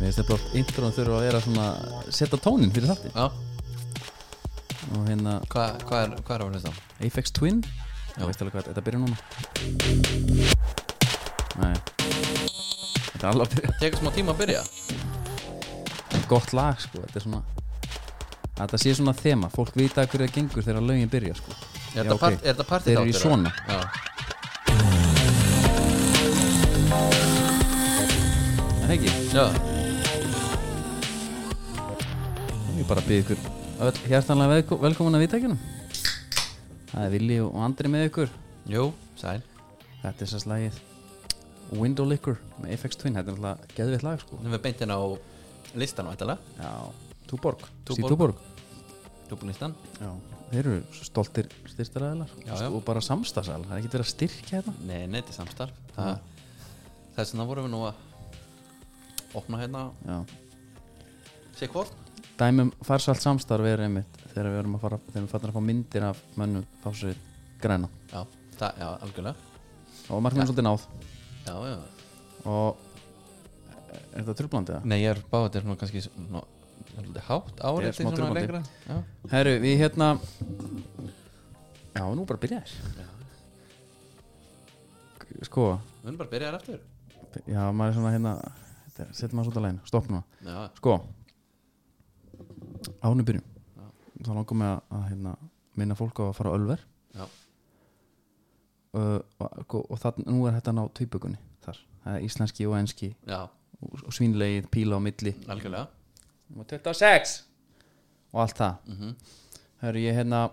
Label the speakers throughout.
Speaker 1: Mér finnst þetta bara intron þurfa að vera svona setja tónin fyrir þátti
Speaker 2: Já,
Speaker 1: og hérna
Speaker 2: hvað hva er, hva er á hlusta?
Speaker 1: Apex Twin Já, veist alveg hvað þetta byrja núna Nei Þetta er alveg að byrja
Speaker 2: Tekur smá tíma að byrja
Speaker 1: Gott lag sko, þetta er svona Þetta sé svona þema, fólk vita hverju það gengur þegar lögin byrja sko Já,
Speaker 2: Er þetta
Speaker 1: ok.
Speaker 2: part- er þetta
Speaker 1: Þeir
Speaker 2: partið
Speaker 1: eru í svona
Speaker 2: Já,
Speaker 1: Er Það ekki,
Speaker 2: já,
Speaker 1: þá er ég bara að byrja ykkur öll Hjartanlega velko- velkomin að vita Það er Vili og Andri með ykkur
Speaker 2: jú, sæl
Speaker 1: Þetta er sérst lagið Window Liquor með Apex Twin Þetta er náttúrulega geðvitt lag sko
Speaker 2: Nú erum við beint hérna á listan vættilega
Speaker 1: Já, Túborg
Speaker 2: Tuborg.
Speaker 1: Túborg
Speaker 2: Dúbunlistan
Speaker 1: Já, þeir eru svo stoltir styrstaræðilar
Speaker 2: Já, já.
Speaker 1: og bara samstagsæðilar, það er ekki verið að styrkja hérna. þetta
Speaker 2: Nei, nei, þetta er samstarf Þa, Þess vegna vorum við nú að opna hérna
Speaker 1: Já,
Speaker 2: Sér hvort
Speaker 1: dæmum farsalt samstarf er einmitt þegar við erum að fara, þegar við fattum að fá myndir af mönnum fásrið græna
Speaker 2: Já, það, já, algjörlega
Speaker 1: og markmiðum svolítið náð
Speaker 2: Já, já
Speaker 1: og er þetta tröflandið það?
Speaker 2: Nei, ég er báðið þetta er nú kannski svona Haldið hátt
Speaker 1: Ég er
Speaker 2: árið
Speaker 1: smá drullandi.
Speaker 2: Já,
Speaker 1: Herru, við hérna Já, nú bara byrja þér Sko,
Speaker 2: við erum bara að byrja þér aftur
Speaker 1: já, maður er svona hérna þetta er- setjum maður svolítið að læna, stopp núna
Speaker 2: Já,
Speaker 1: Sko Ánum byrjum Þá langar mig að, að hérna, minna fólk á að fara á Ölver
Speaker 2: já,
Speaker 1: uh, og, og, og það, nú er þetta ná tvíbökunni þar, það er íslenski og enski
Speaker 2: já,
Speaker 1: og, og svínlegið, píla á milli
Speaker 2: algjörlega
Speaker 1: Númer 26 og allt það mm
Speaker 2: Mhm.
Speaker 1: Hörru, ég hérna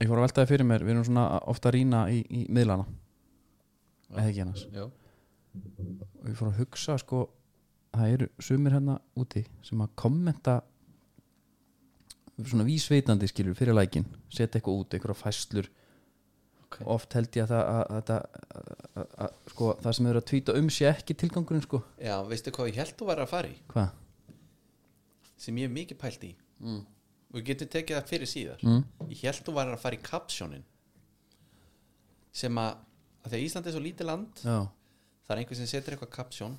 Speaker 1: ég fór að velta það fyrir mér, við erum svona ofta að rýna í, í miðlana eða ekki hennars
Speaker 2: Jú,
Speaker 1: og ég fór að hugsa sko það eru sumir hérna úti sem að kommenta svona vísveitandi skilur fyrir lækin setja eitthvað út, eitthvað fæslur
Speaker 2: ok
Speaker 1: oft held ég að það að, að, að, að, að, sko, það sem þau eru að tvíta um sé ekki tilgangurinn sko
Speaker 2: Já, veistu hvað ég held þú væri að fara í?
Speaker 1: hvað?
Speaker 2: Sem ég hef mikið pælt í mm. Og ég getur tekið það fyrir síðar
Speaker 1: Mm.
Speaker 2: Ég held þú væri að fara í kapsjónin Sem að, að Þegar Ísland er svo lítið land
Speaker 1: Já.
Speaker 2: Það er einhver sem setur eitthvað kapsjón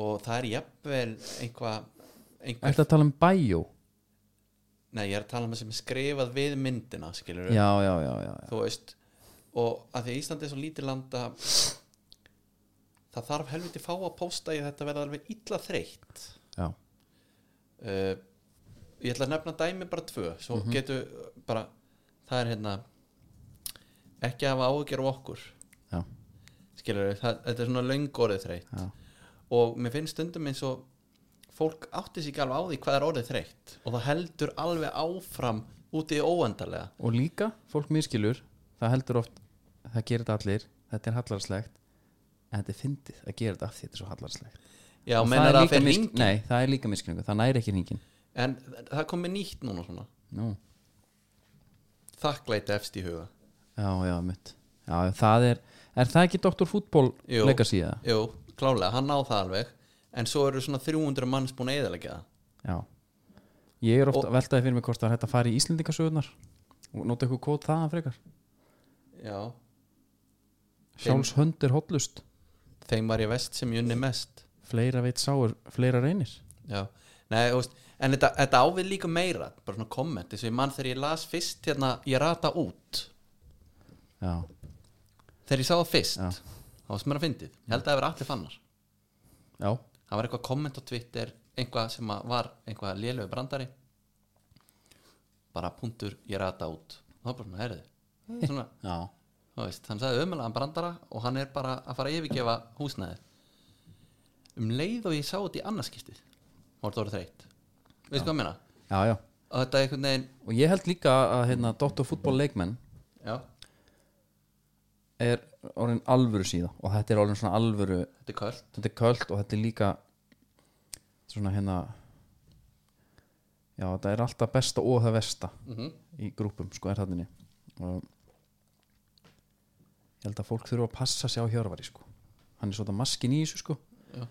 Speaker 2: Og það er jafnvel einhvað einhver,
Speaker 1: Ertu að tala um bæjó?
Speaker 2: Nei, ég er að tala um það sem er skrifað við myndina Skilur
Speaker 1: Já, já, já, já, já.
Speaker 2: þú veist og að því að Íslandi er svo lítið land að það þarf helviti fá að pósta í þetta verða alveg illa þreytt
Speaker 1: já.
Speaker 2: uh, ég ætla að nefna dæmi bara tvö svo
Speaker 1: Mhm.
Speaker 2: mm getur bara það er hérna ekki að hafa áhyggjur á okkur
Speaker 1: Já.
Speaker 2: skilur við, þetta er svona löngorðið þreytt
Speaker 1: Já.
Speaker 2: og mér finnst stundum eins og fólk átti sig ekki alveg á því hvað er orðið þreytt og það heldur alveg áfram úti í óendarlega
Speaker 1: og líka, fólk miskilur það heldur oft, það gerir þetta allir þetta er hallarslegt en þetta er fyndið að gera þetta af því þetta er svo hallarslegt
Speaker 2: já,
Speaker 1: Og
Speaker 2: mennar
Speaker 1: er
Speaker 2: að
Speaker 1: líka
Speaker 2: fyrir
Speaker 1: mis-
Speaker 2: hringi
Speaker 1: Nei, það er líka miskilningu, það næri ekki hringin
Speaker 2: en það kom með nýtt núna svona
Speaker 1: Nú,
Speaker 2: þakklæti efst í huga
Speaker 1: já, já, mitt Já, það er, er það ekki Dr. Fútból
Speaker 2: Jú.
Speaker 1: legacy eða?
Speaker 2: Jú, klálega, hann á það alveg en svo eru svona 300 manns búin að eðalega það
Speaker 1: Já Ég er ofta veltaði fyrir mig hvort það er hægt að fara í Íslendingasögunar og nota eitthvað kóð þaðan frekar
Speaker 2: já,
Speaker 1: Sjálfs hönd er hotlust
Speaker 2: þeim var ég vest sem ég unni mest
Speaker 1: Fleira veit sáur, fleira reynir
Speaker 2: já, nei, þú veist en þetta, þetta ávið líka meira, bara svona kommenti svo ég mann þegar ég las fyrst hérna ég rata út,
Speaker 1: Já,
Speaker 2: þegar ég sá það fyrst
Speaker 1: Já.
Speaker 2: þá var sem er að fyndið, ég held að það hefur allir fannar
Speaker 1: já,
Speaker 2: það var eitthvað komment á Twitter eitthvað sem að var eitthvað lélögu brandari bara punktur, ég rata út þá bara svona, herðið svona,
Speaker 1: já.
Speaker 2: Þú veist, hann sagði ömulegan brandara og hann er bara að fara að yfirgefa húsnæðið um leið og ég sá þetta í annarskiptið var þetta orðið þreytt veist hvað að meina
Speaker 1: já, já.
Speaker 2: og þetta er einhvern veginn
Speaker 1: Og ég held líka að hérna, Dr. Fútból leikmenn
Speaker 2: já,
Speaker 1: er orðin alvöru síða og þetta er orðin svona alvöru
Speaker 2: þetta er kvöld
Speaker 1: þetta er köld og þetta er líka svona hérna já, þetta er alltaf besta og það versta
Speaker 2: Mhm.
Speaker 1: í grúpum sko er þannig og ég held að fólk þurfa að passa sig á hjörvari sko hann er svona maskin í þessu sko
Speaker 2: Já.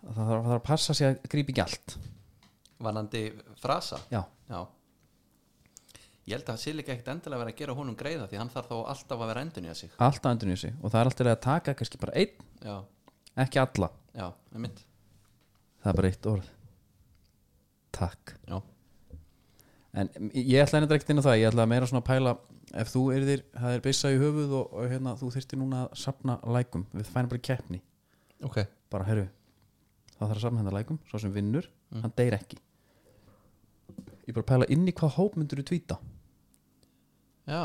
Speaker 1: það þarf, það þarf að passa sig að grípa ekki allt
Speaker 2: vanandi frasa
Speaker 1: já,
Speaker 2: Já Ég held að það sé líka ekkert endilega verið að gera honum greiða því hann þarf þá alltaf að vera endun í sig
Speaker 1: alltaf endur nýsi og það er alltaf að taka kannski bara einn,
Speaker 2: Já,
Speaker 1: ekki alla
Speaker 2: já, einmitt
Speaker 1: það er bara eitt orð takk
Speaker 2: Já,
Speaker 1: en ég ætla henni ekkert inn á það ég ætla meira svona að pæla ef þú erðir, það er byssa í höfuð og, og hérna, þú þyrftir núna að sapna lækum við fænum bara í keppni,
Speaker 2: ok
Speaker 1: bara herru það þarf að sapna hennar lækum, svo sem vinnur hann deyr ekki ég bara pæla inn í hvað hóp myndur þú tvíta
Speaker 2: Já,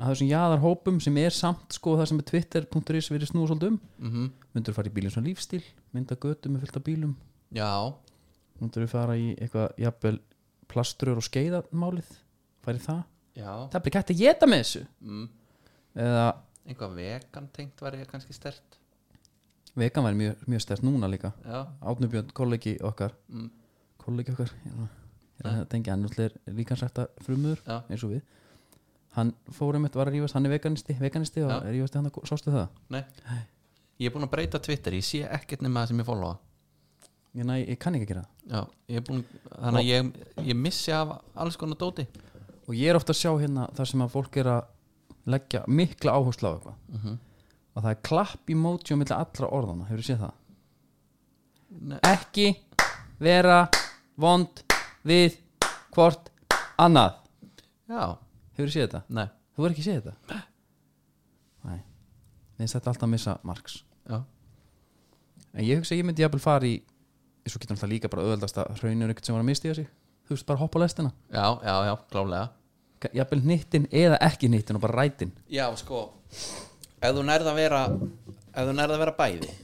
Speaker 1: að þessum jaðarhópum sem er samt sko það sem er twitter.is verið snúið svolítið um
Speaker 2: mhm,
Speaker 1: myndur þú fara í bílinn svona lífstíl mynda götu með fylgta bílum
Speaker 2: já
Speaker 1: myndur þú fara í eitthvað jafnvel plastrur og skeiðamálið færi það
Speaker 2: Já,
Speaker 1: það er bara ekki hægt að geta með þessu
Speaker 2: mm.
Speaker 1: eða
Speaker 2: einhvað vegan tengt var ég kannski stert
Speaker 1: vegan væri mjög, mjög stert núna líka
Speaker 2: Já,
Speaker 1: Átnubjörn, kollegi okkar
Speaker 2: mm.
Speaker 1: kollegi okkar hérna, hérna, tengi hann náttúrulega er líkansrækta frumur
Speaker 2: Já.
Speaker 1: eins og við hann fór einmitt var að rífast, hann er veganisti, veganisti og
Speaker 2: Já.
Speaker 1: er rífasti hann að sástu það
Speaker 2: nei Ég er búin að breyta Twitter, ég sé ekkert nema það sem ég followa
Speaker 1: ég, næ, ég kann ekki að gera það
Speaker 2: Já, ég er búin Þannig að ég, ég missi af alls konar dóti
Speaker 1: og ég er ofta að sjá hérna þar sem að fólk er að leggja mikla áherslu á eitthvað
Speaker 2: Mhm.
Speaker 1: og það er klapp í móti og milli allra orðana, hefur séð það
Speaker 2: Nei,
Speaker 1: ekki vera vond við hvort annað
Speaker 2: Já,
Speaker 1: hefur séð þetta?
Speaker 2: nei
Speaker 1: Þú verður ekki séð þetta? Nei Nei, þetta er alltaf að missa marks
Speaker 2: Já,
Speaker 1: En ég hugsa að ég myndi jafnvel fara í Svo getur alltaf líka bara auðveldast að hraunur ykkur sem var að mistiða sig Þú veist bara hoppa á lestina
Speaker 2: já, já, já klálega
Speaker 1: Ka- Jafnvel hnittin eða ekki hnittin og bara rætin
Speaker 2: Já, sko Ef þú nærð að vera Ef þú nærð að vera bæði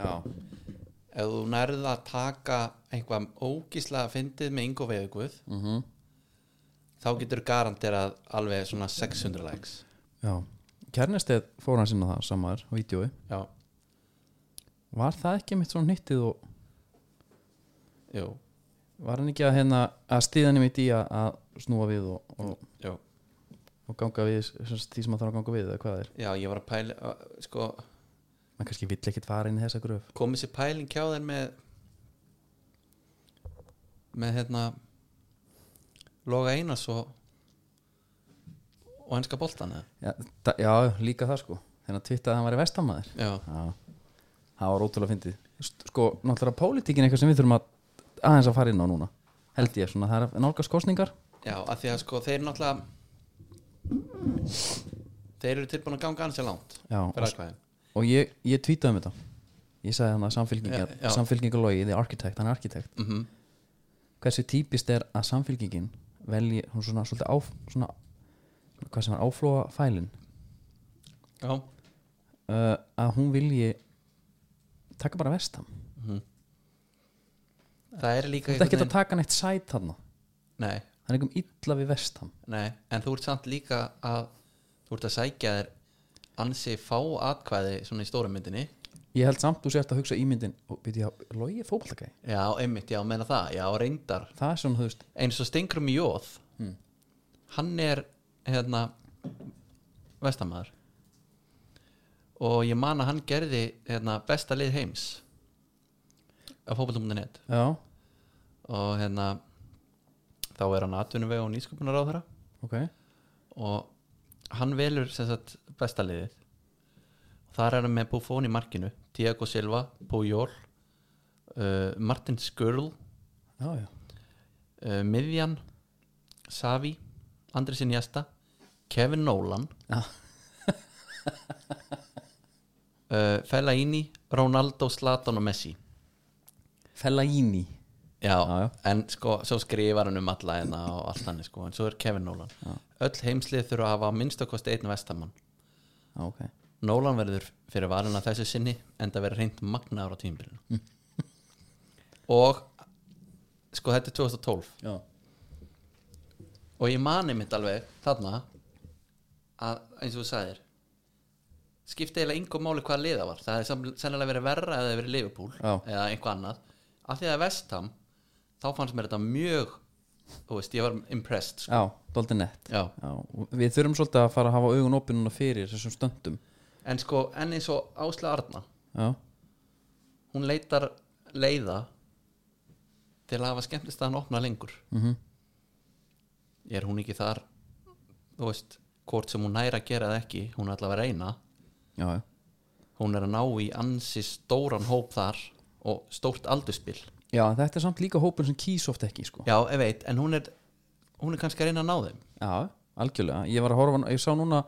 Speaker 1: Já
Speaker 2: Ef þú nærð að taka einhvað ógíslega fyndið með yngu veðuguð
Speaker 1: mm -hmm.
Speaker 2: þá getur garanterað alveg svona 600 likes
Speaker 1: Já Kernesteð fór hann sinna það samar á vídjói
Speaker 2: Já,
Speaker 1: Var það ekki mitt svona hnittið og
Speaker 2: jú,
Speaker 1: Var hann ekki að hérna að stíðan mitt í að, að snúa við og, og,
Speaker 2: jú
Speaker 1: og ganga við sem sagt, því sem að þarf að ganga við eða hvað það er
Speaker 2: Já, ég var að pæla að- sko,
Speaker 1: Man kannski vill ekkit fara inn í þessa gröf
Speaker 2: komið sér pæling hjá þeir með með hérna Loga Einars og og henska boltan eða?
Speaker 1: Já, da, já líka það sko Þegar tvittaði að hann væri vestamæður
Speaker 2: Já,
Speaker 1: Það var ótrúlega fyndið St- Sko, náttúrulega pólitíkin er eitthvað sem við þurfum að aðeins að fara inn á núna Held ég, svona, það er nálgast kostningar
Speaker 2: já, að því að sko þeir náttúrulega þeir eru tilbúin að ganga ansið langt
Speaker 1: Já,
Speaker 2: fyrir
Speaker 1: og,
Speaker 2: aðkvæðin
Speaker 1: og ég, ég tvítaði um þetta Ég sagði hann að samfylkingar
Speaker 2: Já, já.
Speaker 1: Samfylkingar logi, the architect, hann er arkitekt
Speaker 2: mm -hmm.
Speaker 1: Hversu típist er að samfylkingin velji, hún svona, svolítið áf svona, hvað sem er áflóa fælin
Speaker 2: Já,
Speaker 1: uh, að hún vilji taka bara vestam
Speaker 2: það er líka
Speaker 1: Mhm. Þú ert ekki
Speaker 2: einhvern
Speaker 1: að taka neitt sæt hann
Speaker 2: veginn- Nei,
Speaker 1: Það er einhverjum illa við vestam
Speaker 2: nei, en þú ert samt líka að þú ert að sækja þér ansi fá atkvæði svona í stórum myndinni
Speaker 1: Ég held samt þú sért að hugsa ímyndin og byrja að logi fótballtækæ
Speaker 2: Já, einmitt, já, menna það, já, reyndar
Speaker 1: Það er svona, þú veist,
Speaker 2: eins og Stengrum Jóð hann er hérna vestamæður og ég man að hann gerði hérna, besta lið heims á fótbollum.net
Speaker 1: já,
Speaker 2: og hérna þá er hann atvinnuveg og nýsköpunar á þeirra
Speaker 1: ok
Speaker 2: og hann velur sem sagt besta liðið og þar er hann með Buffon í markinu Tiago Silva, Pujol uh, Martin Skurl
Speaker 1: Já, já,
Speaker 2: uh, Miðjan Savi, Andrisin Jesta Kevin Nolan
Speaker 1: Já.
Speaker 2: uh, Fellaini Ronaldo, Slatan og Messi
Speaker 1: Fellaini
Speaker 2: já,
Speaker 1: Já, já.
Speaker 2: en sko, svo skrifar hann um alla hérna og allt hann sko, en svo er Kevin Nolan
Speaker 1: Já.
Speaker 2: öll heimslið þurfa að hafa minnstakosti einn vestamann
Speaker 1: Já, ok
Speaker 2: Nolan verður fyrir valina þessu sinni en það verður reynd magnaður á tímbilinu
Speaker 1: Mm.
Speaker 2: og sko þetta er 2012
Speaker 1: Já,
Speaker 2: og ég mani mitt alveg þarna að eins og þú sagðir skipti eiginlega yngum máli hvaða liða var það hefði sam- sennilega verið verra eða verið Liverpool
Speaker 1: Já.
Speaker 2: eða einhvað annað af því að Vestham þá fannst mér þetta mjög þú veist, ég var impressed sko.
Speaker 1: já, dóldi nett
Speaker 2: Já.
Speaker 1: Já, og við þurfum svolítið að fara að hafa augun opinuna fyrir þessum stöndum
Speaker 2: en sko, en eins og Ásla Arna
Speaker 1: Já,
Speaker 2: hún leitar leiða til að hafa skemmtist að hann opna lengur
Speaker 1: Mhm.
Speaker 2: er hún ekki þar þú veist, hvort sem hún næra að gera það ekki hún er allavega að reyna
Speaker 1: já, já,
Speaker 2: hún er að ná í ansi stóran hóp þar og stórt aldurspil
Speaker 1: já, en þetta er samt líka hópur sem kýs oft ekki sko.
Speaker 2: já, ég veit, en hún er hún er kannski að reyna að ná þeim
Speaker 1: Já, algjörlega Ég var að horfa, ég sá núna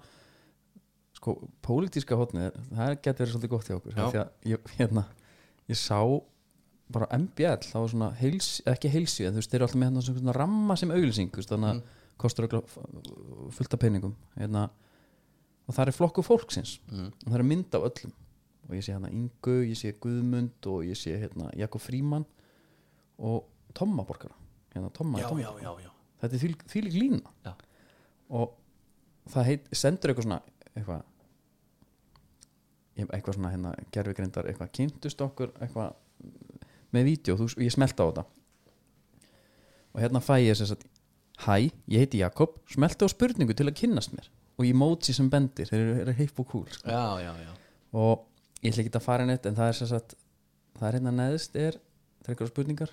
Speaker 1: sko, pólitíska hotnið það geti verið svolítið gott hjá okkur
Speaker 2: Já.
Speaker 1: af því að ég, hérna, ég sá bara MBL, það var svona heils, ekki heilsi, en þú veist, þeir eru alltaf með hérna svona svona ramma sem auglýsing, þú veist, þannig að
Speaker 2: Mm.
Speaker 1: kostur örugglega f- fullt af peningum hérna, og það er flokku fólksins
Speaker 2: Mm.
Speaker 1: og það er mynd af öllum og ég sé hérna Ingu, ég sé Guðmund og ég sé hérna Jakob Fríman og Tomma borgara hérna Tomma í Tomma
Speaker 2: já, já, já
Speaker 1: þetta er þvílík- þvílík lína
Speaker 2: Já.
Speaker 1: og það heit, sendur eitthvað svona eitthvað ég- eitthvað svona hérna gerfugrindar eitthvað kynntust okkur eitthvað með vídeo, þú, ég smelta á þetta og hérna fæ ég þess að hæ, ég heiti Jakob smelta á spurningu til að kynnast mér og emoji sem bendir, þeir eru- eru heip og cool sko.
Speaker 2: já, já, já,
Speaker 1: og ég ætla ekki að fara neitt en það er sem sagt það er hérna neðst er, það er eitthvað spurningar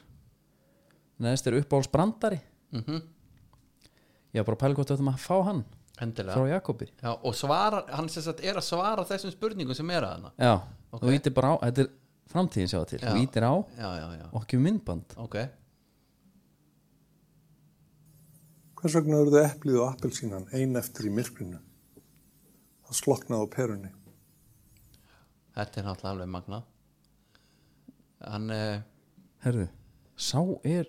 Speaker 1: neðst er uppáhalds brandari
Speaker 2: mm
Speaker 1: Mhm. ég var bara að pæla gott að það maður að fá hann
Speaker 2: endilega
Speaker 1: frá Jakobi
Speaker 2: Já, og svara, hann sem sagt er að svara þessum spurningum sem er að hana
Speaker 1: já,
Speaker 2: Ok.
Speaker 1: þú ítir bara á, þetta er framtíðin sjá það til,
Speaker 2: Já.
Speaker 1: þú ítir á
Speaker 2: já, já, já,
Speaker 1: og ekki myndband
Speaker 2: ok
Speaker 3: Hvers vegna eruðu eplið og appelsínan ein eftir í myrkrinu? Það sloknaði á perunni.
Speaker 2: þetta er náttúrulega alveg magna hann eh,
Speaker 1: herðu, sá er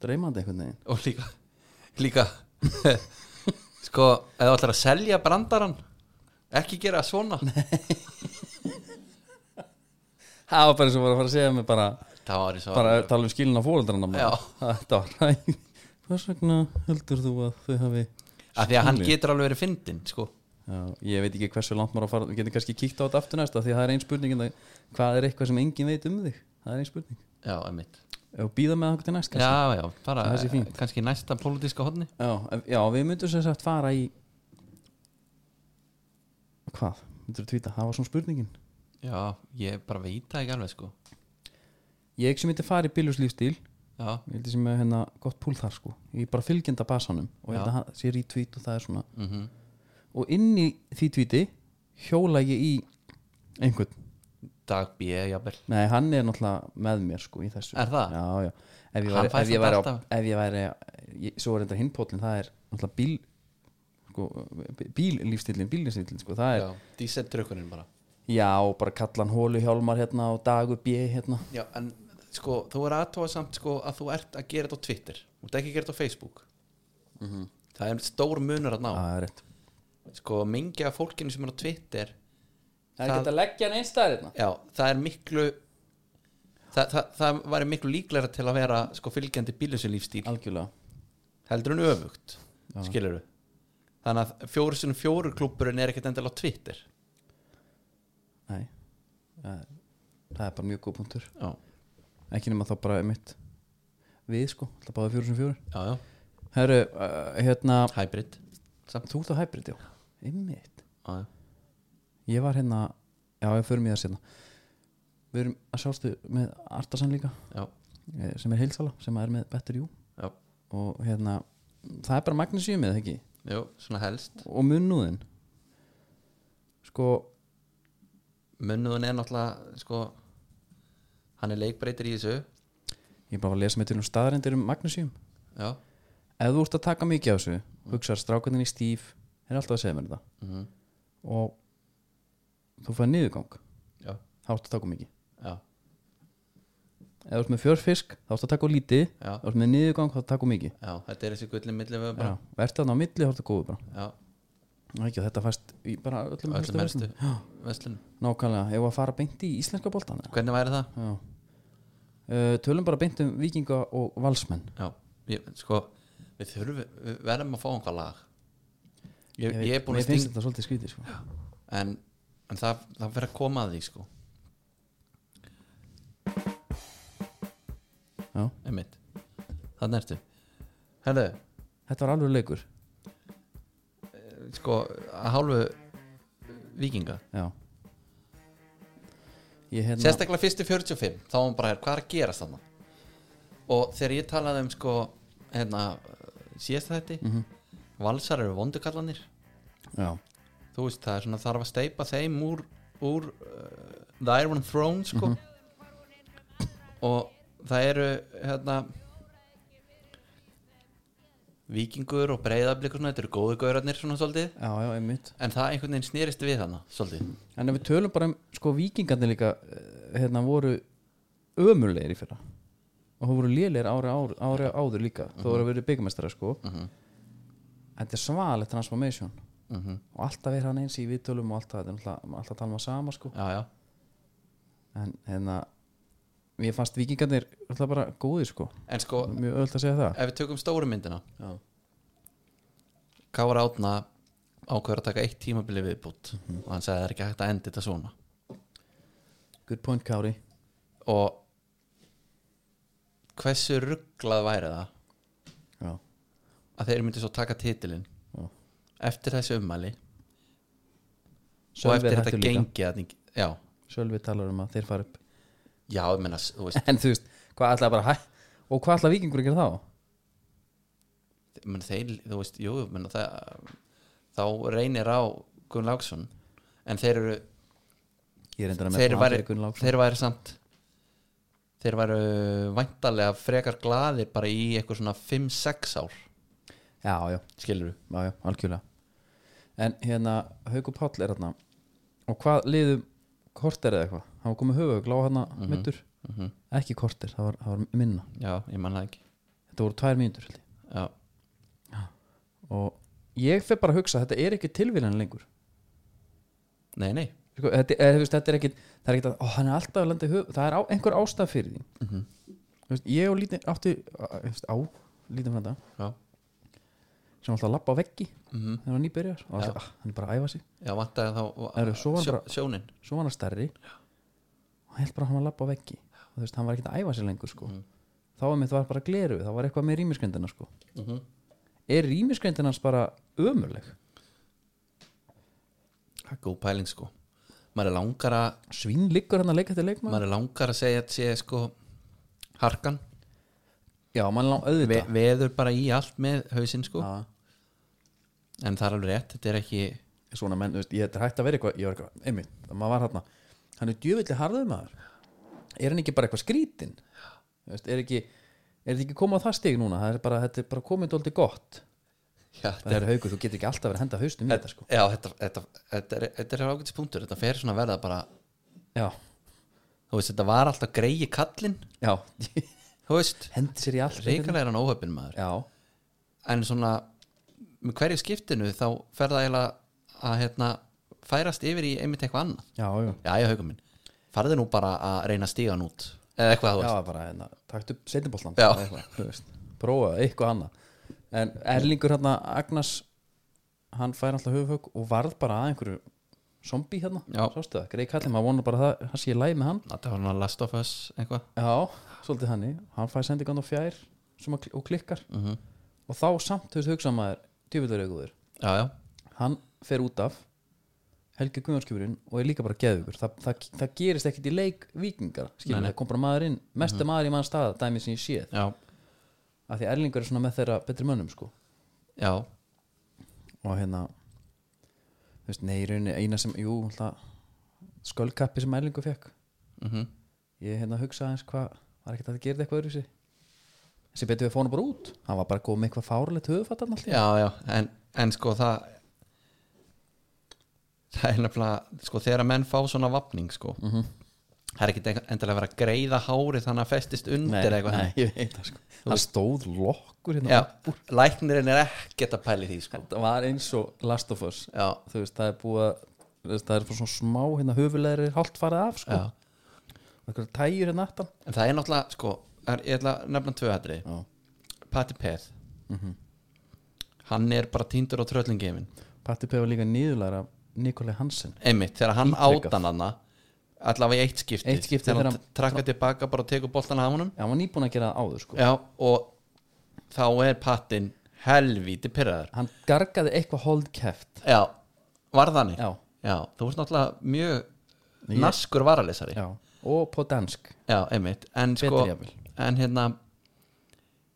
Speaker 1: dreymandi einhvern veginn
Speaker 2: og líka líka sko, eða ætlar að selja brandarann ekki gera það svona
Speaker 1: það var bara eins og var að fara að segja mig bara,
Speaker 2: það var eins og
Speaker 1: bara að tala um skilin á fóreldrana
Speaker 2: Já.
Speaker 1: maður. þetta var ræð hvers vegna heldur þú að þau hafi
Speaker 2: að því að hann
Speaker 1: skilið?
Speaker 2: getur alveg verið fyndin sko.
Speaker 1: já, ég veit ekki hversu langt maður á að fara við getum kannski kíkt á þetta aftur næst af því að það er einn spurning en það- hvað er eitthvað sem enginn veit um þig það er einn spurning
Speaker 2: já, einmitt
Speaker 1: og býða með það til næst kannski.
Speaker 2: já, já, bara
Speaker 1: Það sé fínt.
Speaker 2: kannski næsta pólitíska hodni
Speaker 1: Já, ef- já við myndum sem sagt fara í Hvað? Myndur þú tvíta? Það var svona spurningin
Speaker 2: já, ég bara veit það ekki alveg sko.
Speaker 1: Ég sem myndi fara í bíljuslífstíl Ég
Speaker 2: já,
Speaker 1: held ég sem er hérna gott púl þar sko Ég er bara fylgjenda basanum og ég held að hann sé retweet og það er svona
Speaker 2: mhm
Speaker 1: Og inn í því tweeti hjóla ég í einhvern
Speaker 2: dag B, jafnvel
Speaker 1: Nei, hann er náttúrulega með mér sko í þessu
Speaker 2: Er það?
Speaker 1: Já, já Ef ég
Speaker 2: Hann
Speaker 1: væri,
Speaker 2: fær
Speaker 1: ef ég
Speaker 2: samt
Speaker 1: væri, á,
Speaker 2: alltaf-
Speaker 1: ef ég væri ég, Svo er þetta hinpóllin, það er náttúrulega bíl sko, bíllífstílin, bíllífstílin sko, það er
Speaker 2: já, dísett trökkunin bara
Speaker 1: Já, bara kalla hann hólu hjálmar hérna og dagu bjö hérna
Speaker 2: Já, en sko, þú er aðtóa samt sko að þú ert að gera þetta á Twitter Þú ert ekki að gera þetta á Facebook
Speaker 1: Mhm.
Speaker 2: Það er stór munur að ná
Speaker 1: Það er rétt
Speaker 2: Sko, mingi af fólkinu sem er á Twitter
Speaker 1: Það er ekki hægt að leggja hann einstæðar hérna
Speaker 2: Já, það er miklu Það, það, það væri miklu líklega til að vera sko fylgjandi bílusu lífstíl
Speaker 1: Algjörlega
Speaker 2: heldur en öfugt, skilur við Þannig að fjóru sinni fjóru klúburinn er ekkert endilega á Twitter
Speaker 1: Nei Það er- það er bara mjög góð punktur
Speaker 2: Já,
Speaker 1: Ekki nema þá bara mitt Við sko, það báði fjóru sem fjóru
Speaker 2: já, já,
Speaker 1: Herru, uh, hérna
Speaker 2: hybrid Samt,
Speaker 1: Þú ert á hybrid, já Einmitt
Speaker 2: já, já,
Speaker 1: Ég var hérna Já, ég förum í það sérna Við erum að sjálfstu með Artasan líka
Speaker 2: já,
Speaker 1: eh, sem er heilsala, sem er með Better You
Speaker 2: já,
Speaker 1: og hérna, það er bara magnesíumið, ekki?
Speaker 2: já, svona helst
Speaker 1: og munnúðin sko,
Speaker 2: munnuðun er náttúrulega sko, hann er leikbreytir í þessu
Speaker 1: ég bara var að lesa með til um staðarindir um magnesium
Speaker 2: já,
Speaker 1: ef þú ert að taka mikið á þessu hugsaðar strákunin í stíf er alltaf að segja mér þetta
Speaker 2: mm
Speaker 1: og þú fæði niðurgang
Speaker 2: já,
Speaker 1: þá ertu að taka of mikið
Speaker 2: já,
Speaker 1: ef þú ert með fjörfisk, þá ertu að taka of lítið ef
Speaker 2: já,
Speaker 1: þú ert með niðurgang, þá ertu að taka of mikið
Speaker 2: já þetta er þessi gullin millið við
Speaker 1: Já,
Speaker 2: bara
Speaker 1: og ertu þannig á milli, þá ertu góður bara
Speaker 2: já,
Speaker 1: Ná, ekki, og þetta fæst í bara öllum,
Speaker 2: Öllum
Speaker 1: helstu
Speaker 2: helstu.
Speaker 1: verslunum. Já,
Speaker 2: veslun
Speaker 1: nákvæmlega, ef að fara beint í íslenska boltan
Speaker 2: hvernig væri það?
Speaker 1: uh, tölum bara beint um vikinga og valsmenn
Speaker 2: já, ég, sko við þurfum, við verðum að fá einhver lag ég, ég,
Speaker 1: veit-
Speaker 2: er búin
Speaker 1: mér
Speaker 2: að
Speaker 1: finnst
Speaker 2: sting
Speaker 1: þetta svolítið skrítið sko.
Speaker 2: en, en það, það verður að koma að því sko,
Speaker 1: Já.
Speaker 2: einmitt þannig ertu herðu,
Speaker 1: þetta var alveg leikur
Speaker 2: sko, að hálfu vikinga
Speaker 1: Já hérna- Ég hérna
Speaker 2: sérstaklega fyrstu 45 þá var hann bara, hvað er að gerast þannig og þegar ég talaði um sko hérna, síðast þætti valsar eru vondukallanir
Speaker 1: já,
Speaker 2: þú veist það er svona þarf að steipa þeim úr, úr uh, The Iron Throne sko og það eru hérna vikingur og breyðablík og svona, þetta eru góðu gaurarnir svona svolítið
Speaker 1: já, já, einmitt
Speaker 2: en það einhvern veginn snýrist við hana svolítið
Speaker 1: En ef við tölum bara um, sko, vikingarnir líka eh, hérna voru ömulegir í fyrra og það voru lélegir ári, ári, ári áður líka þó
Speaker 2: Mhm.
Speaker 1: voru að verið byggamestara, sko Þetta er svalet transformation
Speaker 2: Mhm.
Speaker 1: og alltaf er hann eins í viðtölum og alltaf, þetta er alltaf, alltaf tala um að sama, sko
Speaker 2: já já,
Speaker 1: en hérna mér fannst vikingarnir alltaf bara góðir, sko
Speaker 2: en sko
Speaker 1: mjög öll að segja það
Speaker 2: ef við tökum stóru myndina
Speaker 1: Já.
Speaker 2: Kára Átna ákveður að taka eitt tímabili viðbútt og hann sagði það er ekki hægt að enda þetta svona
Speaker 1: Good point, Kári
Speaker 2: og hversu rugglað væri það
Speaker 1: Já,
Speaker 2: að þeir myndu svo taka titilinn
Speaker 1: Já.
Speaker 2: eftir þessi ummæli og
Speaker 1: Sölvi
Speaker 2: eftir
Speaker 1: er
Speaker 2: þetta
Speaker 1: hættur líka.
Speaker 2: gengi að, já,
Speaker 1: Sölvi talar um að þeir fara upp
Speaker 2: já, ég meina þú veist,
Speaker 1: En þú veist, hvað ætlaði bara hæ og hvað ætlaði vikingur að gera þá?
Speaker 2: ég meina, þeir, þú veist jú, ég meina, það, þá reynir á Gunn Láksson en þeir eru
Speaker 1: Ég er endur að
Speaker 2: þeir
Speaker 1: með
Speaker 2: væri, þeir væri samt þeir væri væntalega frekar glaðir bara í eitthvað svona 5-6 ár
Speaker 1: Já, já,
Speaker 2: skilur
Speaker 1: já, já, algjörlega En hérna, Haukur Páll er hérna Og hvað liðum korter eða eitthvað? Hann var komið höfug, lág hérna mm mittur
Speaker 2: mhm.
Speaker 1: Ekki korter, það var, það var minna
Speaker 2: já, ég manna ekki
Speaker 1: Þetta voru tvær mínútur held ég.
Speaker 2: já,
Speaker 1: Og ég fer bara að hugsa, þetta er ekki tilvílan lengur
Speaker 2: nei, nei,
Speaker 1: sko, þetta, eða, þú veist, þetta er ekki það er ekki að, ó, hann er alltaf að landa í höf það er á, einhver ástæð fyrir því mm veist, ég og lítið átti á, á, veist, á lítið frænda
Speaker 2: já,
Speaker 1: sem var alltaf að lappa á veggi
Speaker 2: Mhm.
Speaker 1: þegar hann nýbyrjar og alltaf, ah, hann er bara að æfa sig
Speaker 2: já vantaði þá
Speaker 1: Herru, svo var bara-
Speaker 2: sjónin
Speaker 1: svo var hann stærri og held bara að hann var að lappa á veggi og þú veist, hann var ekkert að æfa sig lengur sko. þá var mitt var bara gleru, þá var eitthvað með rýmisgrindina sko.
Speaker 2: Mhm.
Speaker 1: er rýmisgrindin hans bara ömurleg
Speaker 2: það er góð pæling sko maður er langar að,
Speaker 1: svín liggur hann að leika til leikmann
Speaker 2: maður er langar að segja að sé sko harkan
Speaker 1: já, mann lá
Speaker 2: Ve,
Speaker 1: auðvitað
Speaker 2: veður bara í allt með hausinn sko
Speaker 1: Já.
Speaker 2: en það er alveg rétt, þetta er ekki
Speaker 1: svona menn, þú veist, ég þetta er hægt að vera eitthvað ég var eitthvað, einmitt, maður var hérna hann er djöfillig harður maður er hann ekki bara eitthvað skrítin Þú veist, er ekki, er þetta ekki komið á það stig núna það er bara, þetta er bara komið dóldi gott
Speaker 2: já, þetta
Speaker 1: það er haugur, þú getur ekki alltaf verið að henda haustum í þetta sko
Speaker 2: Já, þetta, þetta, þetta, er, þetta er ágætis punktur Þetta fer svona að verða bara
Speaker 1: já,
Speaker 2: Þú veist, þetta var alltaf greiði kallinn
Speaker 1: já,
Speaker 2: Þú veist,
Speaker 1: hendi sér í allt
Speaker 2: reikalega er hann óhöfinn maður
Speaker 1: já,
Speaker 2: En svona, með hverju skiptinu Þá fer það eiginlega að hérna, Færast yfir í einmitt eitthvað annað
Speaker 1: já, já
Speaker 2: Já, ég haugum minn Farðu nú bara að reyna að stíga hann út Eða eitthvað þú
Speaker 1: já,
Speaker 2: veist
Speaker 1: bara, hérna, takt upp setjaboltan
Speaker 2: Já.
Speaker 1: prófa eitthvað annað en Erlingur hérna, Agnars hann fær alltaf höfufögg og varð bara að einhverju zombi hérna,
Speaker 2: Já.
Speaker 1: sástu það, greið kallið maður vonar bara að það, það sé í læg með hann
Speaker 2: Þetta var hann að last of us eitthvað
Speaker 1: Já, svolítið hann Hann fær sendingan á fjær sem að, og klikkar
Speaker 2: Mhm.
Speaker 1: og þá samt, þú veist, hugsa maður tjöfullar auðgúður,
Speaker 2: Já, já,
Speaker 1: hann fer út af Helgi Guðjónskjöfurinn og er líka bara geðugur Þa, það, það gerist ekkit í leik vikingar skilur,
Speaker 2: Nei, nei.
Speaker 1: það kom bara maður inn, mesta maður í mann stað dæmi sem ég séð,
Speaker 2: já,
Speaker 1: af því Erlingur er svona með þeirra betri mönnum, sko
Speaker 2: já
Speaker 1: og hérna þú veist, nei, í rauninni, eina sem, jú alltaf, skölkappi sem Erlingur fekk
Speaker 2: mm
Speaker 1: ég hérna hugsaði hans hvað var ekkert að það gerði eitthvað öðru sér þessi betur við fóna bara út hann var bara góð með eitthvað fárlegt höfufatt alltaf
Speaker 2: Já, já, en, en sko það það er nefnilega sko þegar að menn fá svona vapning sko það er ekki endilega að vera að greiða hárið þannig að festist undir eitthvað
Speaker 1: nei, ég veit það sko hann stóð lokkur hérna
Speaker 2: Já, læknirinn er ekkert að pæli því sko
Speaker 1: þetta var eins og Last of Us
Speaker 2: Já,
Speaker 1: þú veist, það er búið að þú veist, það er bara svona smá hérna höfulegri hálft farið af sko
Speaker 2: já
Speaker 1: eitthvað tæjur hérna aftan
Speaker 2: en það er náttúrulega sko er, ég ætla að nefna tvö hættri
Speaker 1: já. Mhm.
Speaker 2: Patti Peth hann er bara týndur á tröllingefin
Speaker 1: Patti P var líka nýðulegar af Nikolai Hansen
Speaker 2: einmitt, þegar hann
Speaker 1: Ítrekað.
Speaker 2: átan hann allavega í eitt skipti
Speaker 1: Eitt skipti
Speaker 2: þegar
Speaker 1: þegar
Speaker 2: hann trakka tilbaka bara og tekur boltan af honum
Speaker 1: já, hann var nýbúin að gera það áður sko
Speaker 2: Já, og þá er pattin helvíti pyrraðar
Speaker 1: hann gargaði eitthvað holdkeft
Speaker 2: Já, var þannig
Speaker 1: já,
Speaker 2: þú veist náttúrulega mjög
Speaker 1: Ég-
Speaker 2: naskur varalesari
Speaker 1: já, og på dansk
Speaker 2: Já, einmitt En, sko,
Speaker 1: Betri jafnvel.
Speaker 2: en hérna